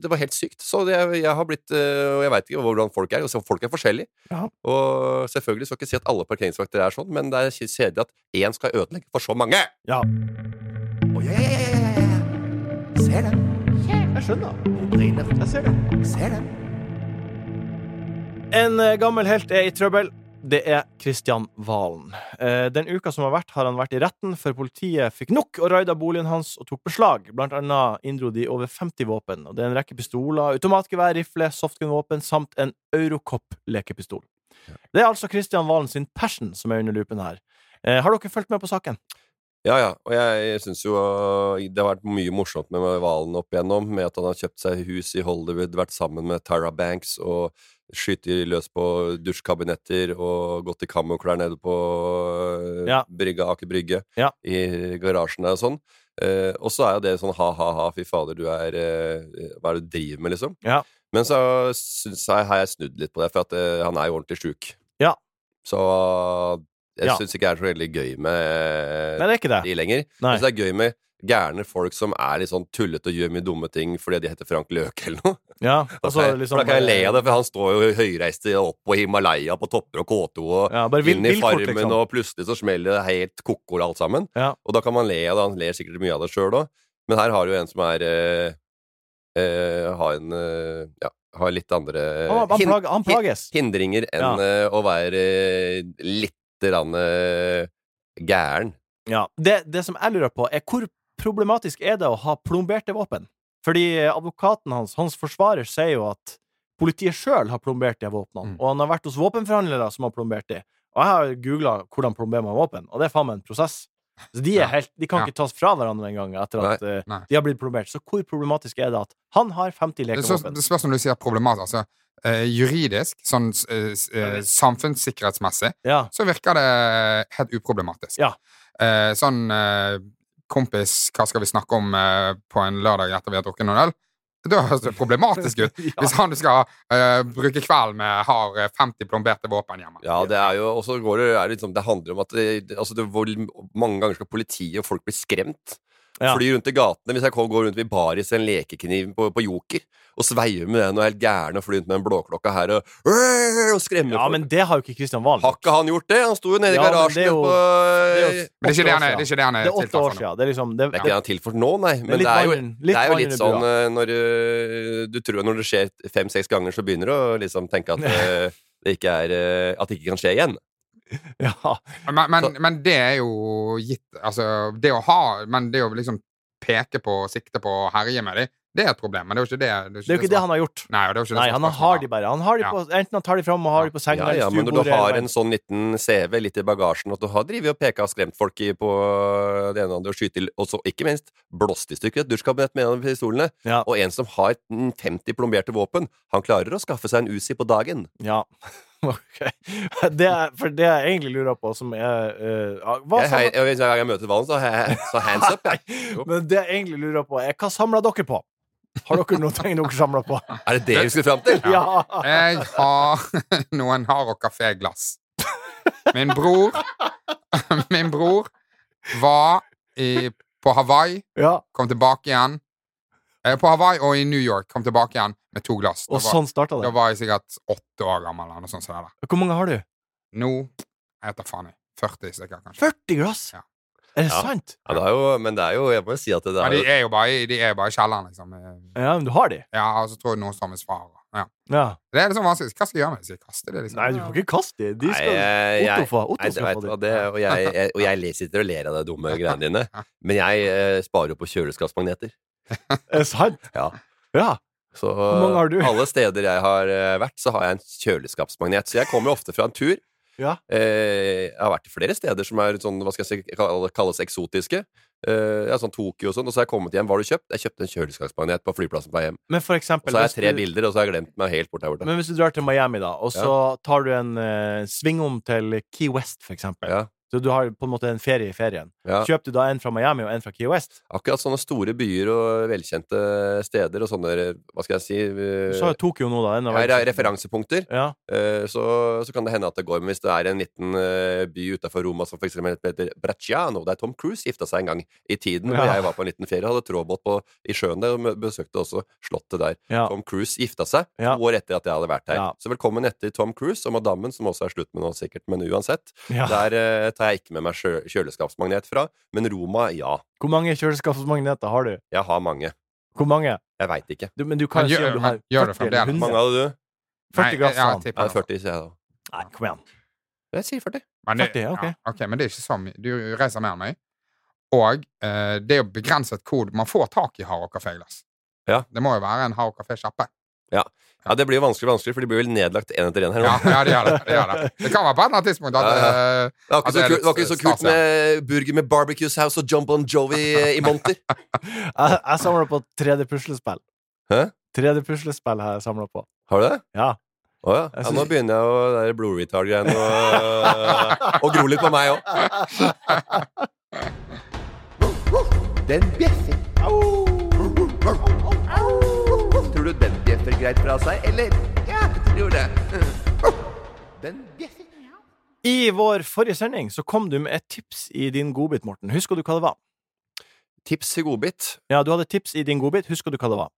[SPEAKER 3] det var helt sykt. Så det, jeg har blitt øh, Og jeg veit ikke hvordan folk er. og så Folk er forskjellige.
[SPEAKER 2] Ja.
[SPEAKER 3] Og selvfølgelig skal jeg ikke si at alle parkeringsvakter er sånn, men det er kjedelig at én skal ødelegge for så mange.
[SPEAKER 2] Ja.
[SPEAKER 10] Å, ja, ja, ja, ja, ja, ja. Ser det.
[SPEAKER 2] Jeg skjønner.
[SPEAKER 10] Det brenner.
[SPEAKER 2] Jeg ser det.
[SPEAKER 10] Ser det.
[SPEAKER 2] En eh, gammel helt er i trøbbel. Det er Kristian Valen. Eh, Den uka som har vært, har han vært i retten, for politiet fikk nok og raida boligen hans og tok beslag. Blant annet inndro de over 50 våpen. Og det er en rekke pistoler, automatgevær, rifle, softgun-våpen samt en Eurocop-lekepistol. Det er altså Kristian Valen sin passion som er under lupen her. Eh, Har dere fulgt med på saken?
[SPEAKER 3] Ja, ja. Og jeg, jeg syns jo øh, det har vært mye morsomt med Valen opp igjennom, med at han har kjøpt seg hus i Hollywood, vært sammen med Tyra Banks og skyter løs på dusjkabinetter og gått i kammoklær nede på øh,
[SPEAKER 2] Ja.
[SPEAKER 3] brygga, Aker Brygge,
[SPEAKER 2] Ja.
[SPEAKER 3] i garasjen der og sånn. Eh, og så er jo det sånn ha-ha-ha, fy fader, du er eh, Hva er det du driver med, liksom?
[SPEAKER 2] Ja.
[SPEAKER 3] Men så syns jeg har jeg snudd litt på det, for at eh, han er jo ordentlig sjuk.
[SPEAKER 2] Ja.
[SPEAKER 3] Så øh, jeg
[SPEAKER 2] Ja.
[SPEAKER 3] syns ikke det er så veldig gøy med Eh,
[SPEAKER 2] Nei, det er ikke det.
[SPEAKER 3] de lenger.
[SPEAKER 2] Nei.
[SPEAKER 3] Jeg synes det er gøy med gærne folk som er litt sånn tullete og gjør mye dumme ting fordi de heter Frank Løke eller noe.
[SPEAKER 2] Ja,
[SPEAKER 3] Da
[SPEAKER 2] altså,
[SPEAKER 3] kan jeg-
[SPEAKER 2] liksom-
[SPEAKER 3] for da kan jeg le av det, for han står jo høyreist opp på Himalaya på topper og K2 og
[SPEAKER 2] Ja, bare vil-
[SPEAKER 3] inn i
[SPEAKER 2] vilkort,
[SPEAKER 3] farmen,
[SPEAKER 2] liksom.
[SPEAKER 3] og plutselig så smeller det helt koko alt sammen.
[SPEAKER 2] Ja.
[SPEAKER 3] Og da kan man le av det, han ler sikkert mye av det sjøl òg, men her har du en som er eh, eh, Har en eh, Ja, har litt andre
[SPEAKER 2] Han, han,
[SPEAKER 3] hin-
[SPEAKER 2] plager, han
[SPEAKER 3] hin-
[SPEAKER 2] plages.
[SPEAKER 3] hindringer enn
[SPEAKER 2] Ja.
[SPEAKER 3] eh, å være eh, litt rann, eh, gæren.
[SPEAKER 2] Ja, det, det som jeg lurer på er hvor problematisk er det å ha plomberte våpen? Fordi advokaten hans, hans forsvarer, sier jo at politiet sjøl har plombert de våpnene,
[SPEAKER 4] Mm.
[SPEAKER 2] og han har vært hos våpenforhandlere som har plombert de. Og jeg har googla hvordan plomberer man våpen, og det er faen meg en prosess. Så de, er helt, de kan
[SPEAKER 4] Ja.
[SPEAKER 2] ikke tas fra hverandre engang etter at eh,
[SPEAKER 4] Nei.
[SPEAKER 2] de har blitt problemert. Så hvor problematisk er det at han har 50
[SPEAKER 4] Det, spørs,
[SPEAKER 2] lekevåpen?
[SPEAKER 4] det spørs om du sier problematisk. Altså, eh, juridisk, sånn eh, s- eh, samfunnssikkerhetsmessig,
[SPEAKER 2] Ja.
[SPEAKER 4] så virker det helt uproblematisk.
[SPEAKER 2] Ja.
[SPEAKER 4] Eh, sånn eh, kompis, hva skal vi snakke om eh, på en lørdag etter vi har drukket noen øl? Det høres det problematisk ut
[SPEAKER 2] Ja.
[SPEAKER 4] hvis han du skal eh, bruke kvelden med, har eh, 50 plomberte våpen hjemme.
[SPEAKER 3] Ja, det er jo Og så går det, er det, liksom, det handler om at det, altså det, hvor mange ganger skal politiet og folk bli skremt?
[SPEAKER 2] Ja.
[SPEAKER 3] Fly rundt i gatene. Hvis jeg kom- går rundt med baris en lekekniv på, på Joker og sveiver med den og er helt gæren og flyr rundt med den blåklokka her og, og skremmer
[SPEAKER 2] ja,
[SPEAKER 3] folk.
[SPEAKER 2] men det har jo ikke Kristian Valen.
[SPEAKER 3] Har ikke han gjort det? Han sto jo nede i
[SPEAKER 2] Ja, men
[SPEAKER 3] garasjen
[SPEAKER 2] det er jo-
[SPEAKER 3] på
[SPEAKER 2] Det er jo
[SPEAKER 4] Men det er ikke det han
[SPEAKER 2] åtte år siden. Det
[SPEAKER 4] er- det er ikke det han er
[SPEAKER 2] er åtte
[SPEAKER 4] tiltalt
[SPEAKER 2] år
[SPEAKER 4] for nå.
[SPEAKER 2] siden. Det er liksom det,
[SPEAKER 3] Det er ikke det han er til for nå, nei.
[SPEAKER 2] er litt
[SPEAKER 3] Men det er jo
[SPEAKER 2] vann- litt
[SPEAKER 3] det er jo
[SPEAKER 2] vann
[SPEAKER 3] litt
[SPEAKER 2] under
[SPEAKER 3] sånn eh, når eh, du tror Når det skjer fem-seks ganger, så begynner du å liksom tenke at eh, det ikke er eh, At det ikke kan skje igjen. eh,
[SPEAKER 2] ja.
[SPEAKER 4] Men, men, men det er jo gitt Altså, det å ha Men det å liksom peke på, sikte på, herje med dem, det er et problem. Men det er jo ikke det Det
[SPEAKER 2] Det er jo ikke det
[SPEAKER 4] som-
[SPEAKER 2] han har gjort.
[SPEAKER 4] Nei, og det er jo ikke det
[SPEAKER 2] Nei,
[SPEAKER 4] som er
[SPEAKER 2] han har
[SPEAKER 4] spørsmålet.
[SPEAKER 2] de bare. Han har de
[SPEAKER 4] Ja.
[SPEAKER 2] på, enten han tar de fram og har de på senga
[SPEAKER 3] Ja, ja, men
[SPEAKER 2] eller
[SPEAKER 3] når du
[SPEAKER 2] stuebordet.
[SPEAKER 3] har
[SPEAKER 2] eller-
[SPEAKER 3] en sånn liten CV litt i bagasjen, at du har drevet og peka og skremt folk i, på det ene og andre, og skutt i Og så ikke minst blåst i stykker et dusjkabinett med en av pistolene.
[SPEAKER 2] Ja.
[SPEAKER 3] Og en som har mm, 50 plomberte våpen, han klarer å skaffe seg en Uzi på dagen.
[SPEAKER 2] Ja. Ok. Det er, for det jeg egentlig lurer på, som er eh, hva
[SPEAKER 3] Jeg, hei,
[SPEAKER 2] samlet,
[SPEAKER 3] jeg, hver gang jeg møter Valen, så, hei- så hands up. Jeg. Jo.
[SPEAKER 2] Men det jeg egentlig lurer på, er hva samla dere på? Har dere noen ting dere samla på?
[SPEAKER 3] Er det det vi skulle fram til?
[SPEAKER 2] Ja!
[SPEAKER 4] Jeg har noen Haro Café-glass. Min bror Min bror var i, på Hawaii,
[SPEAKER 2] ja.
[SPEAKER 4] kom tilbake igjen. Eh, På Hawaii og i New York. Kom tilbake igjen med to glass. Da
[SPEAKER 2] Og
[SPEAKER 4] var,
[SPEAKER 2] sånn starta
[SPEAKER 4] da
[SPEAKER 2] det.
[SPEAKER 4] var jeg sikkert åtte år gammel. Eller noe sånt som det der.
[SPEAKER 2] Hvor mange har du?
[SPEAKER 4] Nå jeg vet da faen. jeg. 40 stykker, kanskje.
[SPEAKER 2] 40 glass!
[SPEAKER 4] Ja.
[SPEAKER 2] Er det
[SPEAKER 3] Ja.
[SPEAKER 2] sant?
[SPEAKER 3] Ja, det er jo, men det er jo Jeg må jo si at det
[SPEAKER 4] Ja,
[SPEAKER 3] er
[SPEAKER 4] de
[SPEAKER 3] jo
[SPEAKER 4] er jo bare, i- de er bare i kjelleren, liksom. Eh,
[SPEAKER 2] Ja, men du har de?
[SPEAKER 4] Ja, og så tror jeg noen står med svar. og- Ja.
[SPEAKER 2] Ja.
[SPEAKER 4] Det er liksom vanskelig. Hva skal jeg gjøre med det? Skal jeg kaste det? liksom?
[SPEAKER 2] Nei, du kan ikke kaste de. De
[SPEAKER 3] Nei,
[SPEAKER 2] skal
[SPEAKER 3] jeg- jeg-
[SPEAKER 2] Otto få- Otto
[SPEAKER 3] Nei, det
[SPEAKER 2] skal
[SPEAKER 3] vet
[SPEAKER 2] få
[SPEAKER 3] du
[SPEAKER 2] de.
[SPEAKER 3] hva, det, og, jeg, jeg, og jeg le- sitter og ler av de dumme greiene dine, men jeg eh, sparer jo på kjøleskapsmagneter.
[SPEAKER 2] Er det sant?
[SPEAKER 3] Ja.
[SPEAKER 2] Ja.
[SPEAKER 3] Så eh,
[SPEAKER 2] mange har du?
[SPEAKER 3] alle steder jeg har eh, vært, så har jeg en kjøleskapsmagnet. Så jeg kommer jo ofte fra en tur.
[SPEAKER 2] Ja.
[SPEAKER 3] Eh, jeg har vært i flere steder som er sånn, hva skal jeg si, kall- kalles eksotiske. Eh, ja, sånn Tokyo og sånn. Og så har jeg kommet hjem. Hva har du kjøpt? Jeg kjøpte en kjøleskapsmagnet på flyplassen på vei hjem.
[SPEAKER 2] Men for eksempel
[SPEAKER 3] Og så har jeg
[SPEAKER 2] hvis
[SPEAKER 3] tre
[SPEAKER 2] du-
[SPEAKER 3] bilder, og så har jeg glemt meg helt bort der borte.
[SPEAKER 2] Men hvis du drar til Miami, da, og så tar du en eh, svingom til Key West, for eksempel.
[SPEAKER 3] Ja,
[SPEAKER 2] Så du har på en måte en ferie i ferien.
[SPEAKER 3] ja.
[SPEAKER 2] Kjøper du da en fra Miami og en fra Key West?
[SPEAKER 3] Akkurat sånne store byer og velkjente steder og sånne, hva skal jeg si,
[SPEAKER 2] Du
[SPEAKER 3] eh,
[SPEAKER 2] sa jo Tokyo nå, da. En av
[SPEAKER 3] ja, re-
[SPEAKER 2] verdens-
[SPEAKER 3] referansepunkter.
[SPEAKER 2] Ja.
[SPEAKER 3] Eh, så, så kan det hende at det går. Men hvis det er en liten eh, by utenfor Roma som for eksempel heter Bracciano, der Tom Cruise gifta seg en gang i tiden, og
[SPEAKER 2] Ja.
[SPEAKER 3] jeg var på en liten ferie, hadde trådbåt på, i sjøen der, og mø- besøkte også slottet der.
[SPEAKER 2] Ja.
[SPEAKER 3] Tom Cruise gifta seg
[SPEAKER 2] Ja.
[SPEAKER 3] to år etter at jeg hadde vært her.
[SPEAKER 2] Ja.
[SPEAKER 3] Så velkommen etter Tom Cruise og madammen, som også er slutt med nå sikkert, men uansett.
[SPEAKER 2] Ja.
[SPEAKER 3] Der eh, tar jeg ikke med meg sjø- kjøleskapsmagnet fra, men Roma, ja.
[SPEAKER 2] Hvor mange kjøleskapsmagneter har du?
[SPEAKER 3] Jeg har mange.
[SPEAKER 2] Hvor mange?
[SPEAKER 3] Jeg veit ikke.
[SPEAKER 2] Du, men du kan
[SPEAKER 4] Men
[SPEAKER 2] jo si
[SPEAKER 4] gjør-
[SPEAKER 2] om du har
[SPEAKER 4] men gjør det
[SPEAKER 2] 40 eller
[SPEAKER 4] fremdeles.
[SPEAKER 3] Hvor
[SPEAKER 2] 100.
[SPEAKER 3] mange hadde du?
[SPEAKER 4] Nei,
[SPEAKER 2] 40 glass,
[SPEAKER 4] ja,
[SPEAKER 2] sa
[SPEAKER 4] jeg
[SPEAKER 2] han.
[SPEAKER 4] tipper
[SPEAKER 3] Jeg
[SPEAKER 4] det.
[SPEAKER 3] er 40, sier jeg da.
[SPEAKER 2] Nei, kom igjen.
[SPEAKER 3] Jeg sier 40.
[SPEAKER 4] Men det,
[SPEAKER 2] 40, ok.
[SPEAKER 4] Ja, ok, men det er ikke så mye. Du reiser mer enn meg. Og eh, det er jo begrenset hvor man får tak i Haro kaféglass.
[SPEAKER 3] Ja.
[SPEAKER 4] Det må jo være en Haro kafé-sjappe.
[SPEAKER 3] Ja, det blir jo vanskeligere og vanskeligere, for de blir vel nedlagt én etter én her nå.
[SPEAKER 4] Ja, ja, det gjør det. Det, gjør det. det kan være på et eller annet tidspunkt at
[SPEAKER 3] Ja, ja. Det
[SPEAKER 4] eh,
[SPEAKER 3] var ikke,
[SPEAKER 4] Altså,
[SPEAKER 3] så,
[SPEAKER 4] er det
[SPEAKER 3] kult, det var ikke så kult
[SPEAKER 4] stas, ja.
[SPEAKER 3] med burger med barbecue sauce og John Bon Jovi eh, i monter.
[SPEAKER 2] Jeg, jeg samla på 3D-puslespill.
[SPEAKER 3] Hæ?
[SPEAKER 2] 3D-puslespill har jeg samla på.
[SPEAKER 3] Har du det?
[SPEAKER 2] Ja.
[SPEAKER 3] Å ja.
[SPEAKER 2] Jeg
[SPEAKER 3] ja.
[SPEAKER 2] synes-
[SPEAKER 3] Nå begynner jeg å det der blodretard-greiene å- å gro litt på meg òg.
[SPEAKER 10] Den bjeffer. Au! Tror du den bjeffer greit fra seg, eller? Ja, jeg tror det. Den bjeffer.
[SPEAKER 2] I vår forrige sending så kom du med et tips i din godbit, Morten. Husker du hva det var?
[SPEAKER 3] Tips i godbit?
[SPEAKER 2] Ja, du hadde tips i din godbit. Husker du hva det var?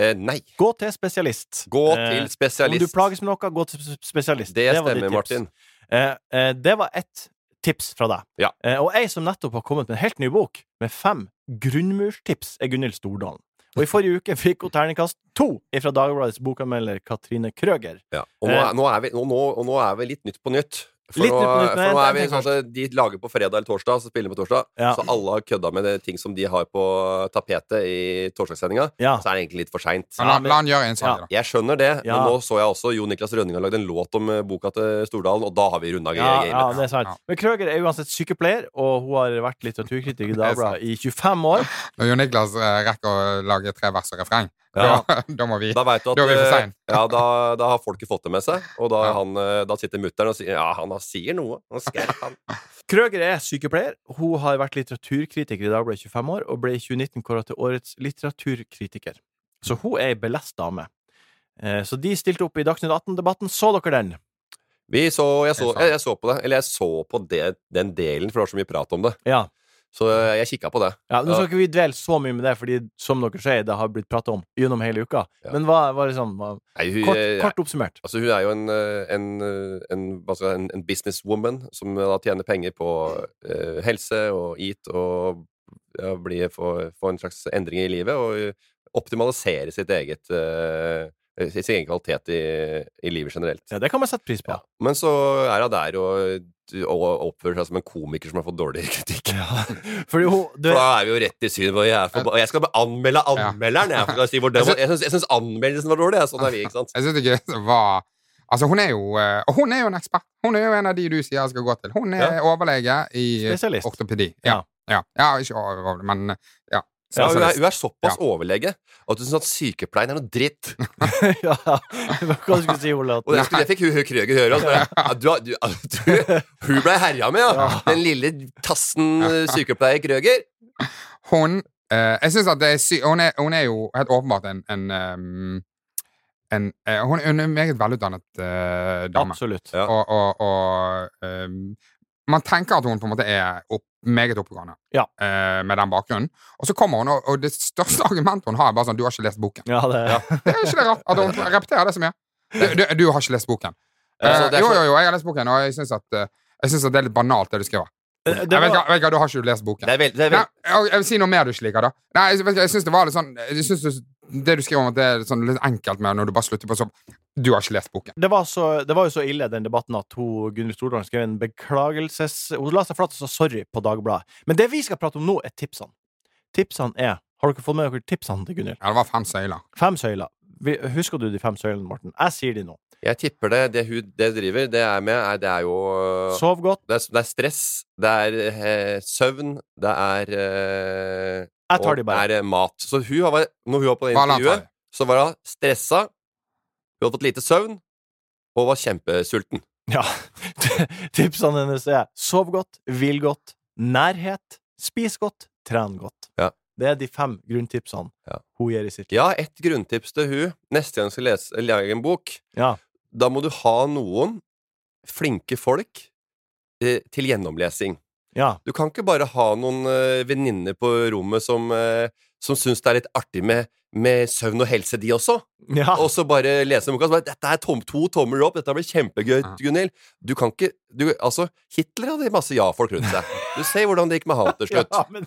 [SPEAKER 3] Eh, nei.
[SPEAKER 2] Gå til spesialist.
[SPEAKER 3] Gå
[SPEAKER 2] Eh,
[SPEAKER 3] til
[SPEAKER 2] Om du
[SPEAKER 3] spesialist.
[SPEAKER 2] plages med noe, gå til sp- spesialist.
[SPEAKER 3] Det
[SPEAKER 2] var ditt
[SPEAKER 3] stemmer,
[SPEAKER 2] tips.
[SPEAKER 3] Martin.
[SPEAKER 2] Eh, eh, det var ett tips fra deg.
[SPEAKER 3] Ja.
[SPEAKER 2] Eh, og ei som nettopp har kommet med en helt ny bok, med fem grunnmurstips, er Gunhild Stordalen. Og i forrige uke fikk hun terningkast to fra Dagbladets bokanmelder Katrine Krøger.
[SPEAKER 3] Ja. Og, nå er, nå er vi, og, nå, og nå er vi litt nytt på nytt. For,
[SPEAKER 2] Eh. Litt
[SPEAKER 3] nå,
[SPEAKER 2] Nytt på Nytt,
[SPEAKER 3] for
[SPEAKER 2] men
[SPEAKER 3] nå
[SPEAKER 2] jeg
[SPEAKER 3] er vi
[SPEAKER 2] tenker
[SPEAKER 3] sånn at De lager på fredag eller torsdag, så spiller de på torsdag.
[SPEAKER 2] Ja.
[SPEAKER 3] Så alle har kødda med det, ting som de har på tapetet i torsdagssendinga.
[SPEAKER 2] Ja.
[SPEAKER 3] Så er det egentlig litt for seint.
[SPEAKER 4] Men la, la han gjøre en
[SPEAKER 2] Ja.
[SPEAKER 4] sak, da.
[SPEAKER 3] Jeg skjønner det,
[SPEAKER 2] Ja.
[SPEAKER 3] men nå så jeg også Jo Niklas Rønning har lagd en låt om eh, boka til Stordalen, og da har vi runda
[SPEAKER 2] Ja,
[SPEAKER 3] gamet.
[SPEAKER 2] ja, det er sant.
[SPEAKER 4] Ja.
[SPEAKER 2] Men Krøger er uansett sykepleier, og hun har vært litteraturkritiker i Dagbladet i 25 år.
[SPEAKER 4] Når Jon Niklas eh, rekker å lage tre vers og refreng,
[SPEAKER 3] Ja.
[SPEAKER 4] da, da må vi
[SPEAKER 3] Da vet du at
[SPEAKER 4] Da er vi for
[SPEAKER 3] eh,
[SPEAKER 4] sein.
[SPEAKER 3] ja, da, da har folket fått det med seg, og da, er
[SPEAKER 4] Ja.
[SPEAKER 3] han, eh, da sitter mutter'n og sier Ja, han har- sier noe. Han skal, han.
[SPEAKER 2] Krøger er sykepleier. Hun har vært litteraturkritiker i Dagbladet i 25 år, og ble i 2019 kåret til årets litteraturkritiker. Så hun er ei belest dame. Eh, Så de stilte opp i Dagsnytt 18-debatten. Så dere den?
[SPEAKER 3] Vi så, jeg, så,
[SPEAKER 4] Det er sant.
[SPEAKER 3] jeg, jeg så på det. Eller jeg så på det, den delen, for det var så mye prat om det.
[SPEAKER 2] Ja.
[SPEAKER 3] Så eh, jeg kikka på det.
[SPEAKER 2] ja nå skal ikke vi dvele så mye med det, fordi som dere sier, det har blitt pratet om gjennom hele uka.
[SPEAKER 3] Ja.
[SPEAKER 2] Men hva var liksom hva,
[SPEAKER 3] Nei, hun,
[SPEAKER 2] kort,
[SPEAKER 3] eh,
[SPEAKER 2] kort oppsummert.
[SPEAKER 3] Altså, hun er jo en, eh, en, eh, en, hva skal jeg, si, en, en businesswoman som eh, da tjener penger på eh, helse og eat og ja, bli, få, få en slags endring i livet og eh, optimalisere sitt eget, eh, eh, sin egen kvalitet i, i livet generelt.
[SPEAKER 2] Ja, det kan man sette pris på.
[SPEAKER 3] Ja. Men så er hun der og, og oppfører seg som en komiker som har fått dårlig kritikk.
[SPEAKER 2] Fordi hun du,
[SPEAKER 3] For da er vi jo rett i synet på jeg, er for- og jeg skal bare anmelde anmelderen! Jeg, for å si hvor døm, jeg, syns, jeg syns anmeldelsen var dårlig. jeg. Sånn er vi, ikke sant?
[SPEAKER 4] Jeg synes ikke det var Altså, hun er jo eh, Og hun er jo en ekspert. Hun er jo en av de du sier jeg skal gå til. Hun er
[SPEAKER 2] Ja.
[SPEAKER 4] overlege i
[SPEAKER 2] Spesialist.
[SPEAKER 4] ortopedi. Ja. Ja. ja, ikke overlege, men eh, ja.
[SPEAKER 3] Ja, hun, er,
[SPEAKER 4] Spesialist.
[SPEAKER 3] hun er såpass overlege at hun syns at sykepleien er noe dritt.
[SPEAKER 2] ja, Hva skulle du si, Ole?
[SPEAKER 3] Og det,
[SPEAKER 2] At,
[SPEAKER 3] skulle, det fikk hun hun Krøger høre. Og så bare, altså. ja, du, har- du, du, hun ble herja med, ja! Den lille tassen eh, sykepleier Krøger.
[SPEAKER 4] Hun eh, Jeg synes at det er sy hun, er, hun er jo helt åpenbart en, en, ehm, en eh, hun, hun er en meget velutdannet eh, dame.
[SPEAKER 2] absolutt.
[SPEAKER 3] Ja.
[SPEAKER 4] Og, og, og ehm, man tenker at hun på en måte er opp, meget oppegående
[SPEAKER 2] Ja.
[SPEAKER 4] eh, med den bakgrunnen. Og så kommer hun, og, og det største argumentet hun har, er bare sånn Du har ikke lest boken.
[SPEAKER 2] Ja, det,
[SPEAKER 4] Det er ikke det rart at hun repeterer det så mye. Du, du, du har ikke lest boken.
[SPEAKER 3] Ja, altså,
[SPEAKER 4] Eh,
[SPEAKER 3] det er
[SPEAKER 4] jo,
[SPEAKER 3] så-
[SPEAKER 4] jo, jo, jeg har lest boken, og jeg syns at, eh, jeg synes at det er litt banalt, det du skriver.
[SPEAKER 2] det,
[SPEAKER 4] jeg vet ikke,
[SPEAKER 2] var,
[SPEAKER 4] jeg vet ikke, du har ikke lest boken.
[SPEAKER 3] Det er veldig, det er
[SPEAKER 4] Nei,
[SPEAKER 3] veldig.
[SPEAKER 4] og jeg vil si noe mer du ikke liker, da. Nei, jeg, vet ikke, jeg syns det var litt sånn jeg synes du, Det du skriver om at det er litt sånn litt enkelt med når du bare slutter på sånn Du har ikke lest boken.
[SPEAKER 2] det, var så, det var jo så ille, den debatten, at hun, Gunhild Stordalen skrev en beklagelses... Hun la seg flat og sa sorry på Dagbladet. Men det vi skal prate om nå, er tipsene. Tipsene er Har dere fått med dere tipsene til Gunhild?
[SPEAKER 4] Ja, det var fem søyler.
[SPEAKER 2] Fem søyler. Vi- Husker du de fem søylene, Morten? Jeg sier de nå.
[SPEAKER 3] Jeg tipper det. Det hun det driver det er med, er, det er jo eh,
[SPEAKER 2] Sov godt.
[SPEAKER 3] det er, det er stress, det er eh, søvn, det er eh,
[SPEAKER 2] Jeg tar
[SPEAKER 3] og
[SPEAKER 2] de bare.
[SPEAKER 3] det er mat. Så hun har, vært- når hun var på det
[SPEAKER 4] Hva er det han
[SPEAKER 3] intervjuet,
[SPEAKER 4] tar?
[SPEAKER 3] så var hun stressa, hun hadde fått lite søvn, og var kjempesulten.
[SPEAKER 2] Ja. Tipsene hennes er sov godt, hvil godt, nærhet, spis godt, tren godt.
[SPEAKER 3] Ja.
[SPEAKER 2] Det er de fem grunntipsene
[SPEAKER 3] Ja.
[SPEAKER 2] hun gir i sitt liv.
[SPEAKER 3] Ja, et grunntips til hun neste gang du skal lese, lage en bok,
[SPEAKER 2] Ja.
[SPEAKER 3] da må du ha noen flinke folk eh, til gjennomlesing.
[SPEAKER 2] Ja.
[SPEAKER 3] Du kan ikke bare ha noen uh, venninner på rommet som, uh, som syns det er litt artig med, med søvn og helse, de også.
[SPEAKER 2] ja.
[SPEAKER 4] Ah.
[SPEAKER 3] Og så bare lese boka. Så bare, dette er tom, to tommer opp, dette blir kjempegøy,
[SPEAKER 4] Ja.
[SPEAKER 3] Gunhild. Du kan ikke du, Altså, Hitler hadde masse ja-folk rundt seg. Du ser hvordan det gikk med han til slutt.
[SPEAKER 2] Ja, men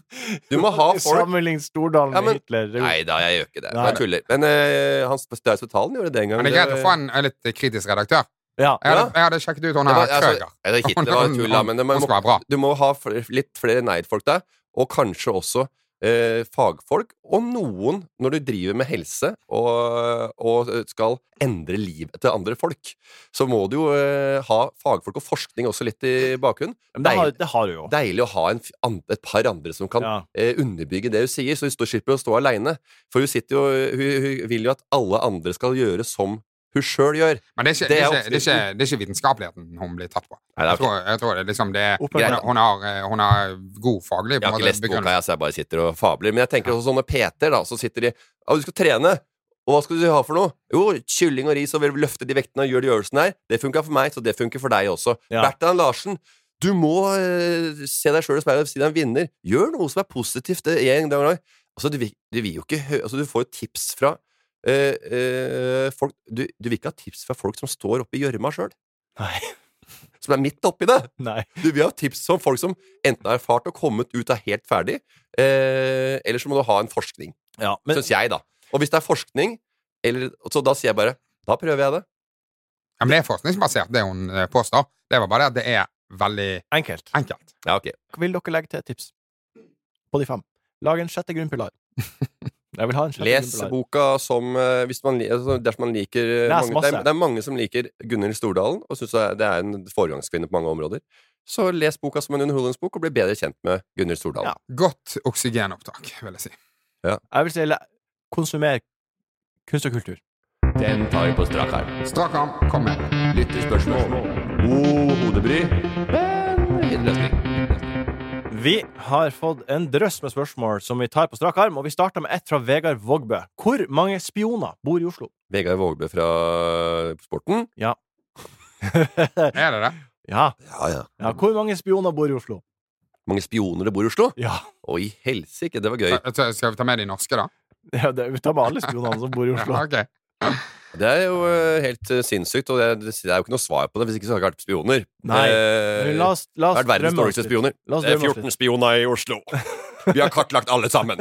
[SPEAKER 3] Du må ha folk
[SPEAKER 2] Sammenlign Stordalen
[SPEAKER 3] Ja, men-
[SPEAKER 2] med Hitler. Det er jo-
[SPEAKER 3] Nei da, jeg gjør ikke det.
[SPEAKER 2] Nei.
[SPEAKER 3] Jeg tuller. Men eh, Hans Staus Talen gjorde det en gang.
[SPEAKER 4] Men det er greit å få en, en litt kritisk redaktør.
[SPEAKER 2] Ja.
[SPEAKER 4] Jeg hadde, jeg hadde sjekket ut hun
[SPEAKER 3] Det var-
[SPEAKER 4] her
[SPEAKER 3] altså,
[SPEAKER 4] Krøger.
[SPEAKER 3] eh, Hitler var tull, da, men det, man
[SPEAKER 4] Hun
[SPEAKER 3] må
[SPEAKER 4] skal være bra.
[SPEAKER 3] Du må ha fl- litt flere nei-folk der, og kanskje også eh, fagfolk. Og noen, når du driver med helse og, og skal endre livet til andre folk, så må du jo eh, ha fagfolk og forskning også litt i bakgrunnen.
[SPEAKER 2] Men det, har,
[SPEAKER 3] Deil-
[SPEAKER 2] det har du jo.
[SPEAKER 3] Deilig å ha en, f- an- et par andre som kan
[SPEAKER 2] Ja.
[SPEAKER 3] eh, underbygge det hun sier, så hun står- slipper å stå aleine. For hun, sitter jo, hun, hun vil jo at alle andre skal gjøre som hun sjøl gjør.
[SPEAKER 4] Men det er, ikke,
[SPEAKER 3] Det er
[SPEAKER 4] det, er
[SPEAKER 3] jo-
[SPEAKER 4] ikke, det, er ikke, det er ikke vitenskapeligheten hun blir tatt på.
[SPEAKER 3] Nei, det er
[SPEAKER 4] Jeg tror, jeg tror det, er liksom, det er, hun,
[SPEAKER 2] Greit.
[SPEAKER 4] hun, har, eh, hun har god faglig på
[SPEAKER 3] Jeg
[SPEAKER 4] en
[SPEAKER 3] har
[SPEAKER 4] måte,
[SPEAKER 3] ikke lest boka,
[SPEAKER 4] begrunnelse.
[SPEAKER 3] jeg, så jeg bare sitter og fabler. Men jeg tenker også sånne PT-er, da, så sitter de Ja, du skal trene. Og hva skal du ha for noe? Jo, kylling og ris, og vi løfter de vektene og gjør de øvelsene her. Det funka for meg, så det funker for deg også.
[SPEAKER 2] Ja.
[SPEAKER 3] Bertrand Larsen, du må eh, se deg sjøl i speilet og si deg en vinner. Gjør noe som er positivt. Det er en gang. da. Altså, du, vil- du vil jo ikke hø- Altså, du får jo tips fra eh, eh, folk du, du vil ikke ha tips fra folk som står oppi gjørma sjøl.
[SPEAKER 2] Nei.
[SPEAKER 3] Som er midt oppi det.
[SPEAKER 2] Nei.
[SPEAKER 3] Du vil ha tips om folk som enten har erfart og kommet ut av helt ferdig, eh, eller så må du ha en forskning,
[SPEAKER 2] Ja, men
[SPEAKER 3] synes syns jeg, da. Og hvis det er forskning, eller, så da sier jeg bare Da prøver jeg det.
[SPEAKER 4] Ja, men det er forskningsbasert, det hun eh, påstår. Det var bare det at det er veldig
[SPEAKER 2] Enkelt.
[SPEAKER 4] enkelt.
[SPEAKER 3] Ja, ok.
[SPEAKER 2] Vil dere legge til et tips på de fem? Lag en sjette grunnpilar. Jeg vil ha en sjette
[SPEAKER 3] Les
[SPEAKER 2] grunnpilar.
[SPEAKER 3] boka som eh, hvis man, li- altså, Dersom man liker eh,
[SPEAKER 2] Les
[SPEAKER 3] mange, det,
[SPEAKER 2] masse.
[SPEAKER 3] er, det er mange som liker Gunhild Stordalen og syns det er en foregangskvinne på mange områder. Så les boka som en underholdningsbok og bli bedre kjent med Gunhild Stordalen.
[SPEAKER 2] Ja.
[SPEAKER 4] Godt oksygenopptak, vil jeg si.
[SPEAKER 2] Jeg vil si le- konsumer kunst og kultur.
[SPEAKER 10] Den tar vi på strak arm.
[SPEAKER 4] Strak arm, kom med.
[SPEAKER 10] Lyttespørsmål. God hodebry, men fin løsning.
[SPEAKER 2] Vi har fått en drøss med spørsmål som vi tar på strak arm, og vi starter med ett fra Vegard Vågbø. Hvor mange spioner bor i Oslo?
[SPEAKER 3] Vegard Vågbø fra eh, Sporten.
[SPEAKER 4] Er det det?
[SPEAKER 2] Ja,
[SPEAKER 3] Ja, ja.
[SPEAKER 2] ja hvor mange spioner bor i Oslo?
[SPEAKER 3] Mange spioner det bor i Oslo?
[SPEAKER 2] Ja,
[SPEAKER 3] Å, i helsike, det var gøy.
[SPEAKER 4] Ta- ta- Skal vi ta med de norske, da?
[SPEAKER 2] ja det, Vi tar med alle spionene som bor i Oslo.
[SPEAKER 4] Ja, ok.
[SPEAKER 3] Det er jo eh, helt eh, sinnssykt, og det, det er jo ikke noe svar på det. Hvis ikke så har jeg ikke vært spioner.
[SPEAKER 2] Nei,
[SPEAKER 3] Eh,
[SPEAKER 2] Men La oss, la
[SPEAKER 3] det
[SPEAKER 2] oss
[SPEAKER 3] har vært verdens
[SPEAKER 2] drømme oss
[SPEAKER 3] dårligste
[SPEAKER 2] litt.
[SPEAKER 3] spioner.
[SPEAKER 2] La oss
[SPEAKER 3] Det er
[SPEAKER 2] drømme oss
[SPEAKER 3] 14 spioner i Oslo. Vi har kartlagt alle sammen.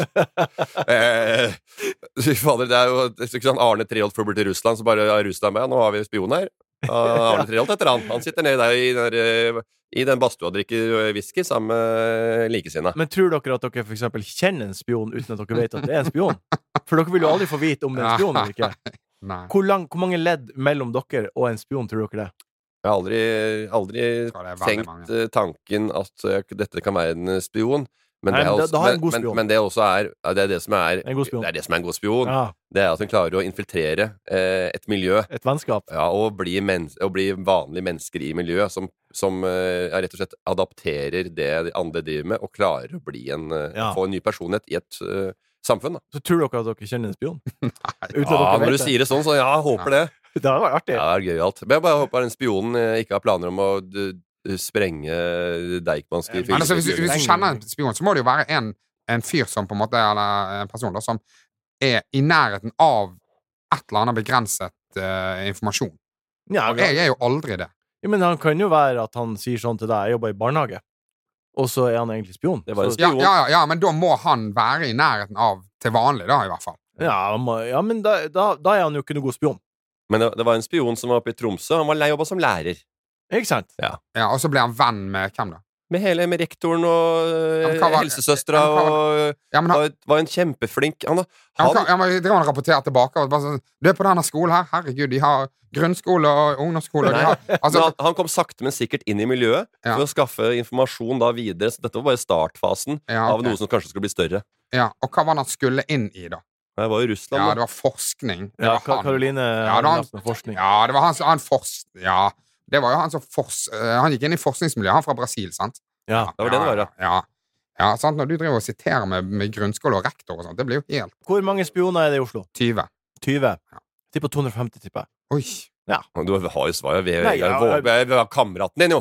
[SPEAKER 3] Eh, fy fader, det er jo det er ikke sånn Arne Treholt fløy til Russland, så bare ja, Russland med. Nå har vi spion her. Ah, Arne Treholt heter han. Han sitter nede der i den, der, eh, i den badstua og drikker eh, whisky sammen med likesinna.
[SPEAKER 2] Men tror dere at dere for eksempel kjenner en spion uten at dere vet at det er en spion? For dere vil jo aldri få vite om det er en spion eller ikke.
[SPEAKER 4] Nei.
[SPEAKER 2] Hvor, lang, hvor mange ledd mellom dere og en spion tror dere det? er?
[SPEAKER 3] Jeg har aldri, aldri
[SPEAKER 4] Jeg tror det er veldig
[SPEAKER 3] tenkt
[SPEAKER 4] mange.
[SPEAKER 3] eh, tanken at eh, dette kan være en eh, spion. Men
[SPEAKER 2] Nei,
[SPEAKER 3] det, er
[SPEAKER 2] men da-
[SPEAKER 3] også,
[SPEAKER 2] da har en
[SPEAKER 3] men,
[SPEAKER 2] god
[SPEAKER 3] men,
[SPEAKER 2] spion.
[SPEAKER 3] men det er også er, ja, det er det som er
[SPEAKER 2] En god spion.
[SPEAKER 3] Det er det som er en god spion.
[SPEAKER 2] Ja,
[SPEAKER 3] Det er at hun klarer å infiltrere eh, et miljø.
[SPEAKER 2] et vennskap.
[SPEAKER 3] Ja, og bli, mens, og bli vanlige mennesker i miljøet som, som eh, ja, rett og slett adapterer det de andre driver med, og klarer å bli en, eh,
[SPEAKER 2] Ja.
[SPEAKER 3] få en ny personlighet i et eh, samfunn. Da.
[SPEAKER 2] Så tror dere at dere kjenner en spion? Uten at
[SPEAKER 3] Ja,
[SPEAKER 2] dere
[SPEAKER 3] når
[SPEAKER 2] vet
[SPEAKER 3] du sier det sånn, så ja, jeg håper det.
[SPEAKER 2] Det hadde vært artig.
[SPEAKER 3] Ja, det er gøyalt. Men jeg bare håper den spionen eh, ikke har planer om å d sprenge Deichmanske
[SPEAKER 4] Men altså, hvis, du- hvis du kjenner en spion, så må det jo være en, en fyr som på en måte Eller en person da, som er i nærheten av et eller annet begrenset eh, informasjon.
[SPEAKER 2] Ja,
[SPEAKER 4] Og jeg er jo aldri det.
[SPEAKER 2] Ja, men han kan jo være at han sier sånn til deg, jeg jobber i barnehage, og så er han egentlig spion.
[SPEAKER 3] Det var en
[SPEAKER 2] Så-
[SPEAKER 4] Ja,
[SPEAKER 3] Spion.
[SPEAKER 4] ja, ja, ja, men da må han være i nærheten av til vanlig, da, i hvert fall.
[SPEAKER 2] ja, han må- ja, men da, da, da er han jo ikke noe god spion.
[SPEAKER 3] Men det, det var en spion som var oppe i Tromsø. Han var lei jobba som lærer.
[SPEAKER 2] Ikke sant?
[SPEAKER 4] Ja, og så blir han venn med hvem, da?
[SPEAKER 3] Med hele med rektoren og
[SPEAKER 4] Ja, men hva
[SPEAKER 3] eh,
[SPEAKER 4] var-
[SPEAKER 3] helsesøstera
[SPEAKER 4] ja, men hva
[SPEAKER 3] og
[SPEAKER 4] Ja, men han,
[SPEAKER 3] var, var en kjempeflink Han,
[SPEAKER 4] han,
[SPEAKER 3] han
[SPEAKER 4] kan- ja, men jeg driver og rapporterer tilbake. Og bare sånn, du er på denne skolen her, herregud, de har grunnskole og ungdomsskole og de har,
[SPEAKER 3] Men
[SPEAKER 4] altså,
[SPEAKER 3] han, han kom sakte, men sikkert inn i miljøet
[SPEAKER 4] Ja.
[SPEAKER 3] for å skaffe informasjon da videre. Så dette var bare startfasen
[SPEAKER 4] ja,
[SPEAKER 3] av
[SPEAKER 4] ok.
[SPEAKER 3] noe som kanskje skulle bli større.
[SPEAKER 4] ja, Og hva var det han skulle inn i, da?
[SPEAKER 3] Jeg var i Russland.
[SPEAKER 4] Ja,
[SPEAKER 3] da.
[SPEAKER 4] det var forskning. Det
[SPEAKER 2] Ja,
[SPEAKER 4] var
[SPEAKER 2] Ka-
[SPEAKER 4] han.
[SPEAKER 2] Karoline
[SPEAKER 4] det var
[SPEAKER 2] har
[SPEAKER 4] han-
[SPEAKER 2] lagt med forskning.
[SPEAKER 4] Ja, det var han som han fors... Ja. Det var jo han som fors... eh, Han gikk inn i forskningsmiljøet, han fra Brasil, sant?
[SPEAKER 2] Ja.
[SPEAKER 3] det var det det var, ja.
[SPEAKER 4] ja. ja. Ja, sant? Når du driver og siterer med, med grunnskole og rektor og sånt, det blir jo helt
[SPEAKER 2] Hvor mange spioner er det i Oslo?
[SPEAKER 4] 20.
[SPEAKER 2] 20.
[SPEAKER 4] Ja.
[SPEAKER 2] Tipper 250, tipper jeg.
[SPEAKER 4] Oi.
[SPEAKER 3] Men Du har jo svaret. Vi,
[SPEAKER 2] Nei,
[SPEAKER 3] vi,
[SPEAKER 2] ja,
[SPEAKER 3] vi, vi, vi har kameraten din, jo!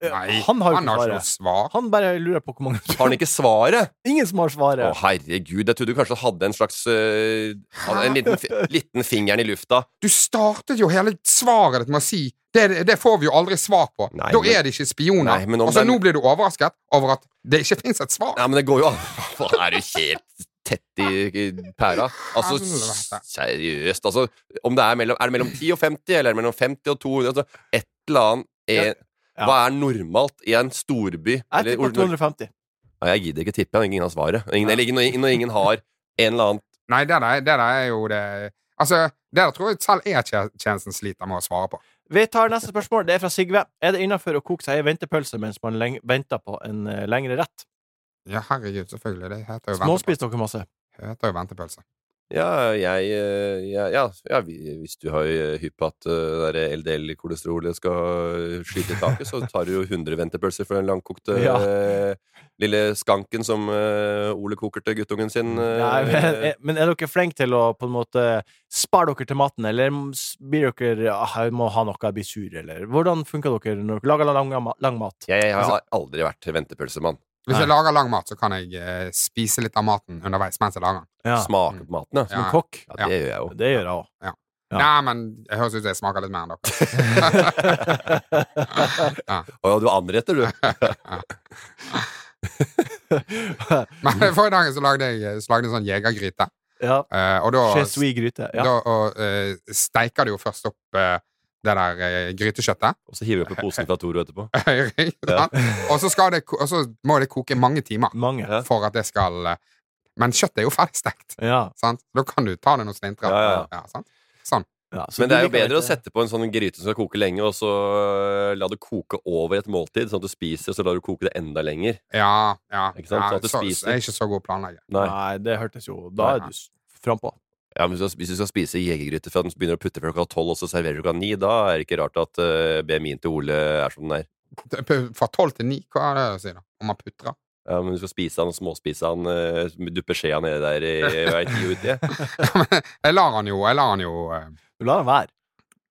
[SPEAKER 4] Nei,
[SPEAKER 2] Eh, Han har jo ikke
[SPEAKER 4] ikke noe
[SPEAKER 2] svaret.
[SPEAKER 4] svar.
[SPEAKER 2] Han bare lurer på hvor mange
[SPEAKER 3] Har han ikke svaret?
[SPEAKER 2] Ingen som har
[SPEAKER 3] Å,
[SPEAKER 2] svaret.
[SPEAKER 3] herregud. Jeg trodde du kanskje hadde en slags øh, hadde En liten, fi- liten fingeren i lufta.
[SPEAKER 4] Du startet jo hele svaret ditt med å si det, det får vi jo aldri svar på.
[SPEAKER 3] Nei,
[SPEAKER 4] da
[SPEAKER 3] men-
[SPEAKER 4] er det ikke spioner.
[SPEAKER 3] Nei, men om
[SPEAKER 4] og så
[SPEAKER 3] den-
[SPEAKER 4] nå blir du overrasket over at det ikke fins et svar.
[SPEAKER 3] Nei, men det går jo an. Faen, Er du helt tett i i pæra? Altså,
[SPEAKER 4] Helvete.
[SPEAKER 3] seriøst, altså. Om det er, mellom, er det mellom 10 og 50, eller er det mellom 50 og 200? Altså, et eller annet en,
[SPEAKER 2] Ja.
[SPEAKER 3] Hva er normalt i en storby?
[SPEAKER 2] Jeg
[SPEAKER 3] Eller,
[SPEAKER 2] tipper
[SPEAKER 3] Nor-
[SPEAKER 2] 250.
[SPEAKER 3] Nei, jeg gidder ikke tippe, ingen har svaret. Ingen, eller, ingen- når, når ingen har en eller annen
[SPEAKER 4] Nei, det der, det der er jo det Altså, det der tror jeg selv E-tjenesten sliter med å svare på.
[SPEAKER 2] Vi tar neste spørsmål. Det er fra Sigve. Er det innafor å koke seg ei ventepølse mens man leng venter på en eh, lengre rett?
[SPEAKER 4] Ja, herregud, selvfølgelig. Det heter jo ventepølse.
[SPEAKER 2] Småspis dere masse.
[SPEAKER 4] Det heter jo ventepølse.
[SPEAKER 3] Ja, jeg eh, Ja, ja, ja vi- hvis du har eh, hypp på at eh, det der LDL-kolesterolet skal eh, skyte i taket, så tar du jo 100 ventepølser for den langkokte
[SPEAKER 2] Ja.
[SPEAKER 3] eh, lille skanken som eh, Ole koker til guttungen sin.
[SPEAKER 2] Mm,
[SPEAKER 3] eh,
[SPEAKER 2] Nei, men, er, men er dere flinke til å på en måte spare dere til maten, eller s- blir dere ah, 'Jeg må ha noe, jeg blir sur', eller Hvordan funker dere når dere lager lang, lang mat?
[SPEAKER 3] jeg, jeg har aldri vært ventepølsemann.
[SPEAKER 4] Hvis jeg
[SPEAKER 2] Nei.
[SPEAKER 4] lager lang mat, så kan jeg eh, spise litt av maten underveis mens jeg lager den.
[SPEAKER 2] Ja, Mm. som
[SPEAKER 3] Smaker på maten, ja.
[SPEAKER 2] en
[SPEAKER 4] Ja.
[SPEAKER 2] kokk.
[SPEAKER 3] Ja, det gjør jeg jo.
[SPEAKER 2] Det gjør jeg òg. Ja.
[SPEAKER 4] Nei, men jeg høres ut som jeg smaker litt mer enn dere.
[SPEAKER 3] Å ja, du anretter, du.
[SPEAKER 4] Men forrige dagen så lagde jeg eh, så lagde jeg en sånn jegergryte.
[SPEAKER 2] ja.
[SPEAKER 4] Eh, og da,
[SPEAKER 2] Chesui gryte.
[SPEAKER 4] da
[SPEAKER 2] Ja.
[SPEAKER 4] og, eh, steiker du jo først opp eh, det der eh, grytekjøttet.
[SPEAKER 3] Og så hiver vi oppi posen fra Toro etterpå.
[SPEAKER 2] Altså,
[SPEAKER 4] Ikke sant? Og så skal det ko- og så må det koke mange timer
[SPEAKER 2] Mange. Ja.
[SPEAKER 4] for at det skal eh, Men kjøttet er jo ferdigstekt,
[SPEAKER 2] Ja.
[SPEAKER 4] sant? Da kan du ta det noen slintrer.
[SPEAKER 3] Ja, ja, ja.
[SPEAKER 4] sant? Sånn.
[SPEAKER 2] så
[SPEAKER 3] Men
[SPEAKER 2] du
[SPEAKER 3] det er jo
[SPEAKER 2] liker
[SPEAKER 3] bedre å
[SPEAKER 2] ikke-
[SPEAKER 3] sette på en sånn gryte som skal koke lenge, og så øh, la det koke over et måltid, sånn at du spiser, og så lar du koke det enda lenger.
[SPEAKER 4] Ja, ja.
[SPEAKER 3] Ikke sant?
[SPEAKER 4] ja
[SPEAKER 3] Så at du
[SPEAKER 4] så,
[SPEAKER 3] spiser.
[SPEAKER 4] jeg er ikke så god å planlegge.
[SPEAKER 3] Nei.
[SPEAKER 2] Nei, det hørtes jo Da er du s- frampå.
[SPEAKER 3] Ja, men hvis du skal- hvis du skal spise jegergryte fra den begynner å putte klokka tolv, og så serverer du klokka ni, da er det ikke rart at øh, BMI-en til Ole er som den er.
[SPEAKER 4] Fra tolv til ni, hva er det å si, da? Om man putrer?
[SPEAKER 3] Ja, men du skal spise han og småspise han, øh, duppe skjea nedi der i hva er ti uti.
[SPEAKER 4] Jeg lar han jo, jeg lar han jo eh,
[SPEAKER 2] Du lar den være.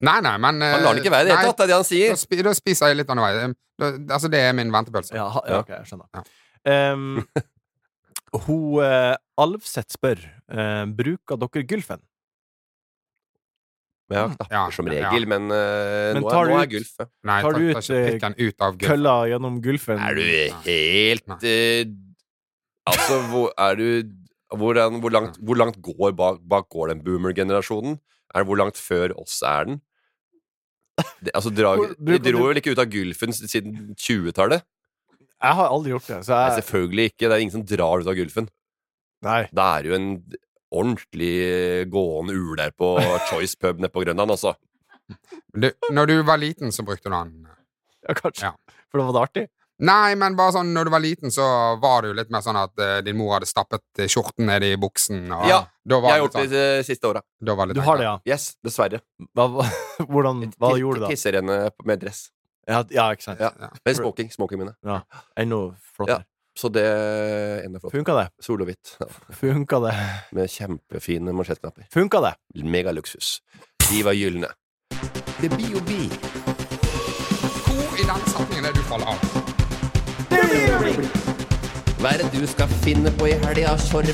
[SPEAKER 4] Nei, nei, men eh,
[SPEAKER 3] Han lar det ikke være i det
[SPEAKER 4] nei,
[SPEAKER 3] hele tatt, det er det han
[SPEAKER 4] Da,
[SPEAKER 3] sier.
[SPEAKER 4] spi, da spiser jeg litt underveis. Da, altså, det er min ventepølse.
[SPEAKER 2] Ja, ha- ja ok, jeg skjønner.
[SPEAKER 4] Ja.
[SPEAKER 2] Ehm, hun eh, Alvseth spør eh, Bruker dere Gylfen.
[SPEAKER 3] Men jeg har knapper
[SPEAKER 4] Ja,
[SPEAKER 3] som
[SPEAKER 4] ja.
[SPEAKER 3] regel, men, øh,
[SPEAKER 2] Men
[SPEAKER 3] nå,
[SPEAKER 2] tar
[SPEAKER 3] er,
[SPEAKER 2] du
[SPEAKER 3] nå
[SPEAKER 2] ut-
[SPEAKER 3] er gulf. ja.
[SPEAKER 4] Nei,
[SPEAKER 2] Tar
[SPEAKER 4] tar,
[SPEAKER 2] du eh,
[SPEAKER 4] tar
[SPEAKER 2] ut,
[SPEAKER 4] ikke pikken ut av gulvet.
[SPEAKER 2] Kølla gjennom Gylfen.
[SPEAKER 3] Er du
[SPEAKER 4] Nei. Nei.
[SPEAKER 3] helt eh, Altså, hvor er du hvordan, hvor, langt, hvor langt går bak, bak går den boomer-generasjonen? Er det Hvor langt før oss er den? Det, altså, dra,
[SPEAKER 2] Hvor-
[SPEAKER 3] de
[SPEAKER 2] bruker
[SPEAKER 3] dro
[SPEAKER 2] du-
[SPEAKER 3] vel ikke ut av Gulfen s- siden 20-tallet?
[SPEAKER 2] Jeg har aldri gjort det. Så
[SPEAKER 3] Nei,
[SPEAKER 2] jeg,
[SPEAKER 3] selvfølgelig ikke. Det er ingen som drar ut av Gulfen.
[SPEAKER 2] nei.
[SPEAKER 3] Da er det jo en ordentlig eh, gående ul der på Choice pub nede på Grønland, altså.
[SPEAKER 4] Du, når du var liten, så brukte du den.
[SPEAKER 2] Ja, kanskje.
[SPEAKER 4] Ja.
[SPEAKER 2] For da var det artig.
[SPEAKER 4] Nei, men bare sånn, når du var liten, så var du litt mer sånn at eh, din mor hadde stappet eh, skjorten ned i buksen. Og,
[SPEAKER 3] Ja,
[SPEAKER 4] da
[SPEAKER 3] Jeg
[SPEAKER 4] var
[SPEAKER 3] har
[SPEAKER 4] det
[SPEAKER 3] gjort det
[SPEAKER 4] litt sånn,
[SPEAKER 3] de siste åra.
[SPEAKER 4] da var det litt
[SPEAKER 2] Du har
[SPEAKER 4] sånn.
[SPEAKER 2] det, ja.
[SPEAKER 3] Yes, dessverre.
[SPEAKER 2] Hva, hva, hvordan, hva gjorde du da?
[SPEAKER 3] Tisser henne med dress.
[SPEAKER 2] Ja, ja ikke sant.
[SPEAKER 3] Ja. Med smoking. Smoking mine.
[SPEAKER 2] Enda flottere.
[SPEAKER 3] Så det enda flott.
[SPEAKER 2] Funka det?
[SPEAKER 3] Sol og hvitt. Ja.
[SPEAKER 2] Funka det?
[SPEAKER 3] Med kjempefine mansjettknapper.
[SPEAKER 2] Funka det?
[SPEAKER 3] Megaluksus. De var gylne.
[SPEAKER 10] Det blir jo bi.
[SPEAKER 4] Hvor i den setningen er det du faller av?
[SPEAKER 10] Hva er det du skal finne på i helga, Sorve?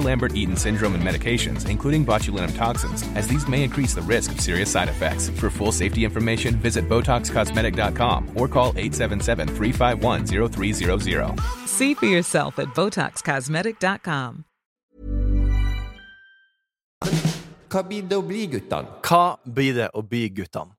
[SPEAKER 11] Lambert-Eaton syndrome and medications, including botulinum toxins, as these may increase the risk of serious side effects. For full safety information, visit BotoxCosmetic.com or call 877-351-0300.
[SPEAKER 12] See for yourself at BotoxCosmetic.com.
[SPEAKER 10] Hva blir det å bli, guttan?
[SPEAKER 2] Hva blir det å bli guttene?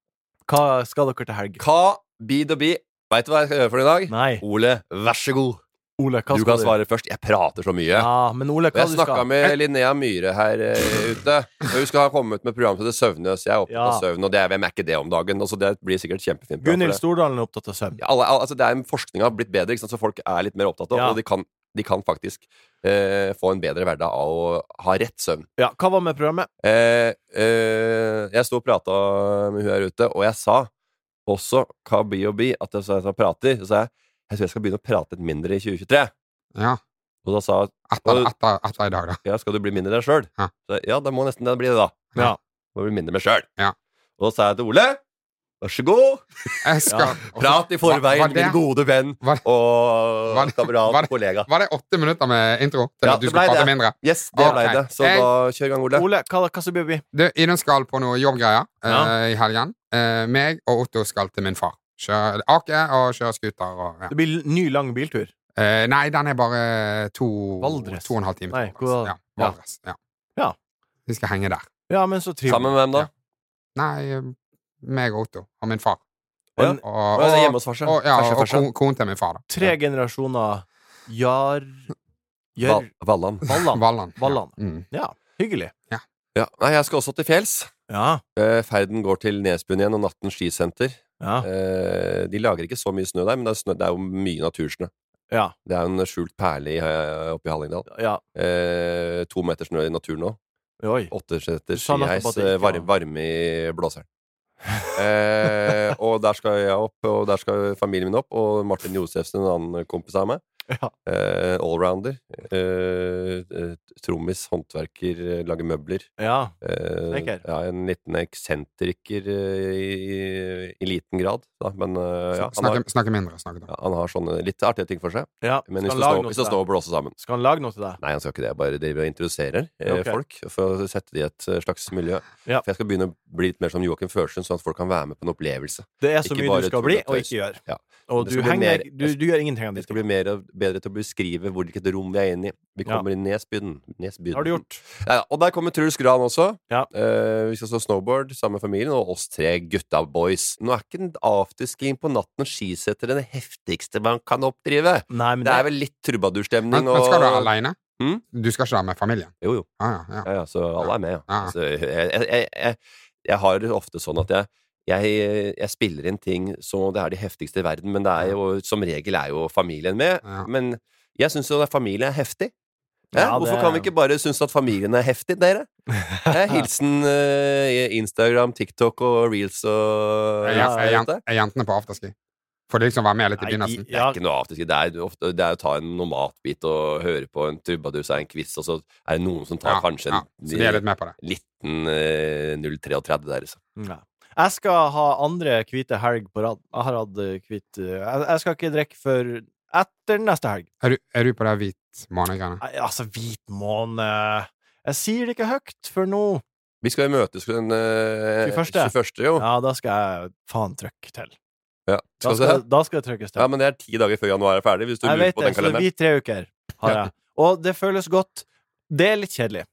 [SPEAKER 2] Hva skal dere til helg?
[SPEAKER 3] Hva bid og bi? Veit du hva jeg skal gjøre for i dag?
[SPEAKER 2] Nei.
[SPEAKER 3] Ole, vær så god.
[SPEAKER 2] Ole, hva
[SPEAKER 3] Du
[SPEAKER 2] skal
[SPEAKER 3] kan svare først. Jeg prater så mye.
[SPEAKER 2] Ja, Ah, men Ole,
[SPEAKER 3] Og
[SPEAKER 2] hva
[SPEAKER 3] jeg
[SPEAKER 2] du
[SPEAKER 3] snakka
[SPEAKER 2] skal?
[SPEAKER 3] med Linnea Myhre her eh, ute. Og Hun skal ha kommet med program til det søvnløse. Jeg er opptatt
[SPEAKER 2] Ja.
[SPEAKER 3] av søvn, og det er, hvem er ikke det om dagen? Altså, det blir sikkert et kjempefint program.
[SPEAKER 2] Gunhild
[SPEAKER 3] for det.
[SPEAKER 2] Stordalen er opptatt av søvn.
[SPEAKER 3] Ja, alle, al- altså, det er, forskninga har blitt bedre, ikke sant? så folk er litt mer opptatt av
[SPEAKER 2] Ja.
[SPEAKER 3] Og de kan, de kan faktisk eh, få en bedre hverdag av å ha rett søvn.
[SPEAKER 2] Ja, hva var med programmet?
[SPEAKER 3] Eh, eh, jeg sto og prata med hun her ute, og jeg sa også hva BOB at jeg, sa jeg prater. Så sa jeg jeg tror jeg skal begynne å prate litt mindre i 2023.
[SPEAKER 4] Ja.
[SPEAKER 3] Og da sa hun
[SPEAKER 4] Etter,
[SPEAKER 3] Og-
[SPEAKER 4] etter, etter i dag, da.
[SPEAKER 3] ja, skal du bli mindre deg sjøl?
[SPEAKER 4] Ja.
[SPEAKER 3] Ja, da må nesten det bli det, da.
[SPEAKER 2] Ja.
[SPEAKER 3] Må bli mindre meg sjøl.
[SPEAKER 4] Ja.
[SPEAKER 3] Og da sa jeg til Ole Vær så god,
[SPEAKER 4] Jeg skal
[SPEAKER 3] prat i forveien,
[SPEAKER 4] Var- var det-
[SPEAKER 3] min gode venn
[SPEAKER 4] var-
[SPEAKER 3] og
[SPEAKER 4] var det- var
[SPEAKER 3] kamerat,
[SPEAKER 4] det-
[SPEAKER 3] kollega.
[SPEAKER 4] Var det åtte minutter med intro til
[SPEAKER 3] Ja,
[SPEAKER 4] at du
[SPEAKER 3] det
[SPEAKER 4] skulle
[SPEAKER 3] ble
[SPEAKER 4] prate
[SPEAKER 3] det.
[SPEAKER 4] mindre?
[SPEAKER 3] Yes, det
[SPEAKER 4] Ok.
[SPEAKER 3] ble det. Så
[SPEAKER 4] Jeg-
[SPEAKER 3] da kjør i gang, Ole.
[SPEAKER 2] Ole, hva, hva skal det bli?
[SPEAKER 4] Du, Idun skal på noe jobbgreier eh,
[SPEAKER 2] Ja.
[SPEAKER 4] i helgen. Eh, meg og Otto skal til min far. Kjøre ake og kjøre scooter. Og, ja.
[SPEAKER 2] Det blir ny, lang biltur.
[SPEAKER 4] Eh, nei, den er bare to,
[SPEAKER 2] Valdres.
[SPEAKER 4] to og en halv time.
[SPEAKER 2] Nei,
[SPEAKER 4] til
[SPEAKER 2] hvor-
[SPEAKER 4] Valdres. ja, Valdres. Ja.
[SPEAKER 2] Ja.
[SPEAKER 4] Vi skal henge der.
[SPEAKER 2] Ja, men så
[SPEAKER 3] Sammen
[SPEAKER 2] trivelig.
[SPEAKER 3] med hvem da?
[SPEAKER 4] Nei, eh, meg og Otto og min far.
[SPEAKER 3] Ja.
[SPEAKER 2] En,
[SPEAKER 4] Og,
[SPEAKER 3] Å,
[SPEAKER 4] og,
[SPEAKER 3] jeg er
[SPEAKER 4] og,
[SPEAKER 3] Hjemme hos farsa?
[SPEAKER 4] ja,
[SPEAKER 3] Farsa,
[SPEAKER 4] og
[SPEAKER 3] farsa.
[SPEAKER 4] kon- konen til min far, da.
[SPEAKER 2] tre generasjoner jar... Gjør...
[SPEAKER 3] Val- Valland.
[SPEAKER 2] Valland.
[SPEAKER 4] Valland.
[SPEAKER 2] Valland.
[SPEAKER 4] Ja. Mm.
[SPEAKER 2] Ja, hyggelig.
[SPEAKER 3] Ja. Nei, jeg skal også til fjells.
[SPEAKER 2] Ja,
[SPEAKER 3] Eh, Ferden går til Nesbuen igjen og Natten skisenter.
[SPEAKER 2] ja,
[SPEAKER 3] Eh, de lager ikke så mye snø der, men det er, snø, det er jo mye natursnø.
[SPEAKER 2] ja.
[SPEAKER 3] Det er jo en skjult perle i, eh, oppe i Hallingdal.
[SPEAKER 2] ja.
[SPEAKER 3] Eh, to meter snø i naturen nå.
[SPEAKER 2] Oi.
[SPEAKER 3] Åtteseter
[SPEAKER 2] sa nettopp
[SPEAKER 3] skiheis,
[SPEAKER 2] at det ikke
[SPEAKER 3] eh, varme,
[SPEAKER 2] var-
[SPEAKER 3] varme i blåseren. eh, og der skal jeg opp, og der skal familien min opp, og Martin Josefsen, en annen kompis av meg. Eh, Allrounder. Eh, eh, Trommis, håndverker, eh, lager møbler.
[SPEAKER 2] Ja,
[SPEAKER 3] Eh,
[SPEAKER 2] snekker.
[SPEAKER 3] ja en liten eksentriker eh, i, i liten grad, da. Men eh, ja,
[SPEAKER 4] Snakke, snakke mindre. Snakke mindre.
[SPEAKER 3] ja, han har sånne litt artige ting for seg.
[SPEAKER 2] Ja, skal han
[SPEAKER 3] Men vi skal,
[SPEAKER 2] lage
[SPEAKER 3] stå,
[SPEAKER 2] noe til
[SPEAKER 3] vi skal stå
[SPEAKER 2] deg?
[SPEAKER 3] og blåse sammen.
[SPEAKER 2] Skal han lage noe til deg?
[SPEAKER 3] Nei, han skal ikke det. Jeg bare driver og introduserer eh,
[SPEAKER 2] Ok.
[SPEAKER 3] folk for å sette de i et eh, slags miljø.
[SPEAKER 2] Ja.
[SPEAKER 3] For jeg skal begynne å bli litt mer som Joakim Førsund, sånn at folk kan være med på en opplevelse.
[SPEAKER 2] Det er så
[SPEAKER 3] Ikke
[SPEAKER 2] mye du
[SPEAKER 3] bare
[SPEAKER 2] skal
[SPEAKER 3] tull
[SPEAKER 2] bli, og
[SPEAKER 3] tøys.
[SPEAKER 2] ikke gjøre.
[SPEAKER 3] Ja.
[SPEAKER 2] Og
[SPEAKER 3] Det
[SPEAKER 2] du,
[SPEAKER 3] skal bli mer-
[SPEAKER 2] henger, du, du gjør ingenting av
[SPEAKER 3] Jeg
[SPEAKER 2] ditt.
[SPEAKER 3] skal bli mer, bedre til å beskrive hvor- hvilket rom vi er inne i. Vi
[SPEAKER 2] Ja.
[SPEAKER 3] kommer i Nesbyen. Nesbyen.
[SPEAKER 2] Har du gjort?
[SPEAKER 3] Ja, ja. og der kommer Truls Gran også.
[SPEAKER 2] Ja.
[SPEAKER 3] Eh, vi skal stå snowboard sammen med familien, og oss tre gutta boys. Nå er ikke den afterskien på natten og skisetter det heftigste man kan oppdrive.
[SPEAKER 2] Nei, men
[SPEAKER 3] det er
[SPEAKER 2] det-
[SPEAKER 3] vel litt
[SPEAKER 4] Men,
[SPEAKER 3] trubadurstemning
[SPEAKER 4] men skal du
[SPEAKER 3] og
[SPEAKER 4] aleine?
[SPEAKER 3] Mm?
[SPEAKER 4] Du skal ikke være med familien?
[SPEAKER 3] Jo, jo.
[SPEAKER 4] Ah, ja, ja.
[SPEAKER 3] Ja, ja, så alle er med, ja.
[SPEAKER 4] Ja.
[SPEAKER 3] Så jeg, jeg, jeg, jeg, jeg har det ofte sånn at jeg, jeg, jeg spiller inn ting som om det er de heftigste i verden, men det er jo, som regel er jo familien med.
[SPEAKER 4] Ja.
[SPEAKER 3] Men jeg syns jo at familie er heftig. Hæ?
[SPEAKER 2] Ja,
[SPEAKER 3] Hvorfor
[SPEAKER 2] det-
[SPEAKER 3] kan vi ikke bare synes at familien er heftig, dere? Hæ? Hilsen eh, Instagram, TikTok og reels og
[SPEAKER 4] Er, jen- er,
[SPEAKER 3] alt
[SPEAKER 4] jen-
[SPEAKER 3] det.
[SPEAKER 4] er jentene på afterski? Får de liksom være med litt i
[SPEAKER 2] Nei,
[SPEAKER 4] begynnelsen?
[SPEAKER 3] Det er ikke noe afterski. Det er, ofte, det er å ta en noe matbit og høre på en trubadur, så er det en quiz, og så er det noen som tar
[SPEAKER 4] Ja,
[SPEAKER 3] kanskje en
[SPEAKER 4] ja. Så de er litt med på det.
[SPEAKER 3] liten eh, 033 der, liksom.
[SPEAKER 2] Nei. Jeg skal ha andre hvite helg på rad. Jeg har hatt eh, hvit eh, Jeg jeg skal ikke drikke før etter neste helg.
[SPEAKER 4] Er du, er du på det hvit måne-greiene?
[SPEAKER 2] Nei, altså, hvit måned Jeg sier det ikke høyt for nå.
[SPEAKER 3] Vi skal jo møtes den eh,
[SPEAKER 2] 21..
[SPEAKER 3] 21., jo. Ja.
[SPEAKER 2] Ja, da skal jeg faen trykke til. Da
[SPEAKER 3] Skal
[SPEAKER 2] skal,
[SPEAKER 3] du det?
[SPEAKER 2] da skal jeg trykkes til.
[SPEAKER 3] ja, men det er ti dager før januar er ferdig, hvis du
[SPEAKER 2] jeg
[SPEAKER 3] lurer
[SPEAKER 2] vet
[SPEAKER 3] på
[SPEAKER 2] det,
[SPEAKER 3] den
[SPEAKER 2] så det
[SPEAKER 3] kalenderen.
[SPEAKER 2] blir tre uker. Har jeg. Og det føles godt. Det er litt kjedelig,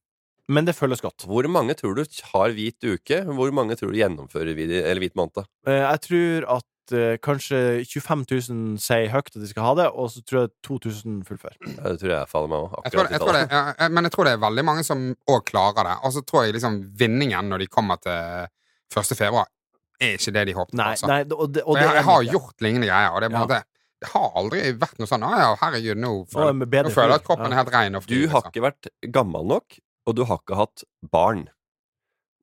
[SPEAKER 2] men det føles godt.
[SPEAKER 3] Hvor mange tror du har hvit uke? Hvor mange tror du gjennomfører hvit, eller hvit måned?
[SPEAKER 2] Eh, Jeg tror at eh, kanskje 25 000 sier høyt at de skal ha det, og så tror jeg 2000 fullfører.
[SPEAKER 3] Ja, det tror jeg faller meg òg.
[SPEAKER 4] Jeg tror, jeg tror det, ja, ja, eh, men jeg tror det er veldig mange som òg klarer det. Og så tror jeg liksom vinningen når de kommer til 1. februar, er ikke det de håpet på.
[SPEAKER 2] Nei,
[SPEAKER 4] altså.
[SPEAKER 2] nei, og det, og
[SPEAKER 4] For
[SPEAKER 2] det
[SPEAKER 4] jeg,
[SPEAKER 2] er
[SPEAKER 4] jeg har
[SPEAKER 2] nok det.
[SPEAKER 4] gjort lignende greier, og det, er på
[SPEAKER 2] Ja.
[SPEAKER 4] en måte, det har aldri vært noe sånn 'Å ja, herregud, nå føler,
[SPEAKER 2] med bedre
[SPEAKER 4] nå føler jeg at
[SPEAKER 2] fyr».
[SPEAKER 4] kroppen
[SPEAKER 2] Ja.
[SPEAKER 4] er helt ren og
[SPEAKER 3] Du
[SPEAKER 4] fri.
[SPEAKER 3] har
[SPEAKER 4] liksom.
[SPEAKER 3] ikke vært gammel nok, og du har ikke hatt barn.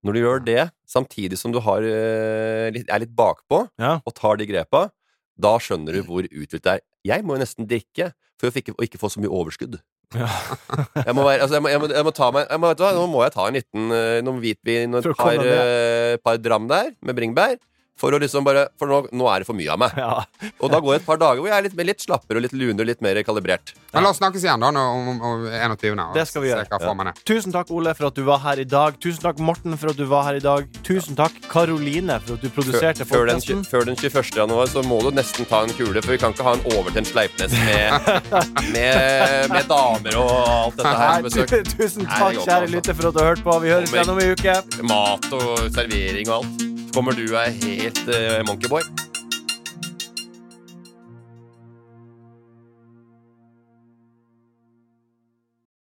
[SPEAKER 3] Når du
[SPEAKER 2] Mm.
[SPEAKER 3] gjør det, samtidig som du har, eh, litt- er litt bakpå,
[SPEAKER 2] Ja.
[SPEAKER 3] og tar de grepa, da skjønner du hvor uthvilt det er. Jeg må jo nesten drikke for å ikke, å ikke få så mye overskudd. jeg, må være, altså jeg, må, jeg, må, jeg må ta meg jeg må, vet du hva, Nå må jeg ta en liten eh, noen hvitvin og
[SPEAKER 2] For å
[SPEAKER 3] et par,
[SPEAKER 2] komme
[SPEAKER 3] eh, par dram der med bringebær. For, å liksom bare, for nå, nå er det for mye av meg.
[SPEAKER 2] Ja.
[SPEAKER 3] Og da går det et par dager hvor jeg er litt, litt slappere og litt lunere og litt mer kalibrert.
[SPEAKER 4] Men la oss snakkes igjen da nå om, om, om 21. og
[SPEAKER 2] Det skal vi
[SPEAKER 4] se
[SPEAKER 2] gjøre.
[SPEAKER 4] hva formen er.
[SPEAKER 2] Tusen takk, Ole, for at du var her i dag. Tusen takk, Morten, for at du var her i dag. Tusen takk, Karoline, for at du produserte
[SPEAKER 3] før den,
[SPEAKER 2] podkasten.
[SPEAKER 3] før den 21. januar så må du nesten ta en kule, for vi kan ikke ha en overtent sleipnes med, med, med damer og alt dette her som besøk.
[SPEAKER 2] Tusen takk,
[SPEAKER 3] Nei, det går ikke,
[SPEAKER 2] kjære
[SPEAKER 3] altså.
[SPEAKER 2] lytter, for at du har hørt på. Vi høres
[SPEAKER 3] Kommer.
[SPEAKER 2] igjen om ei uke.
[SPEAKER 3] Mat og servering og alt. Så kommer du og er helt eh, monkeyboy.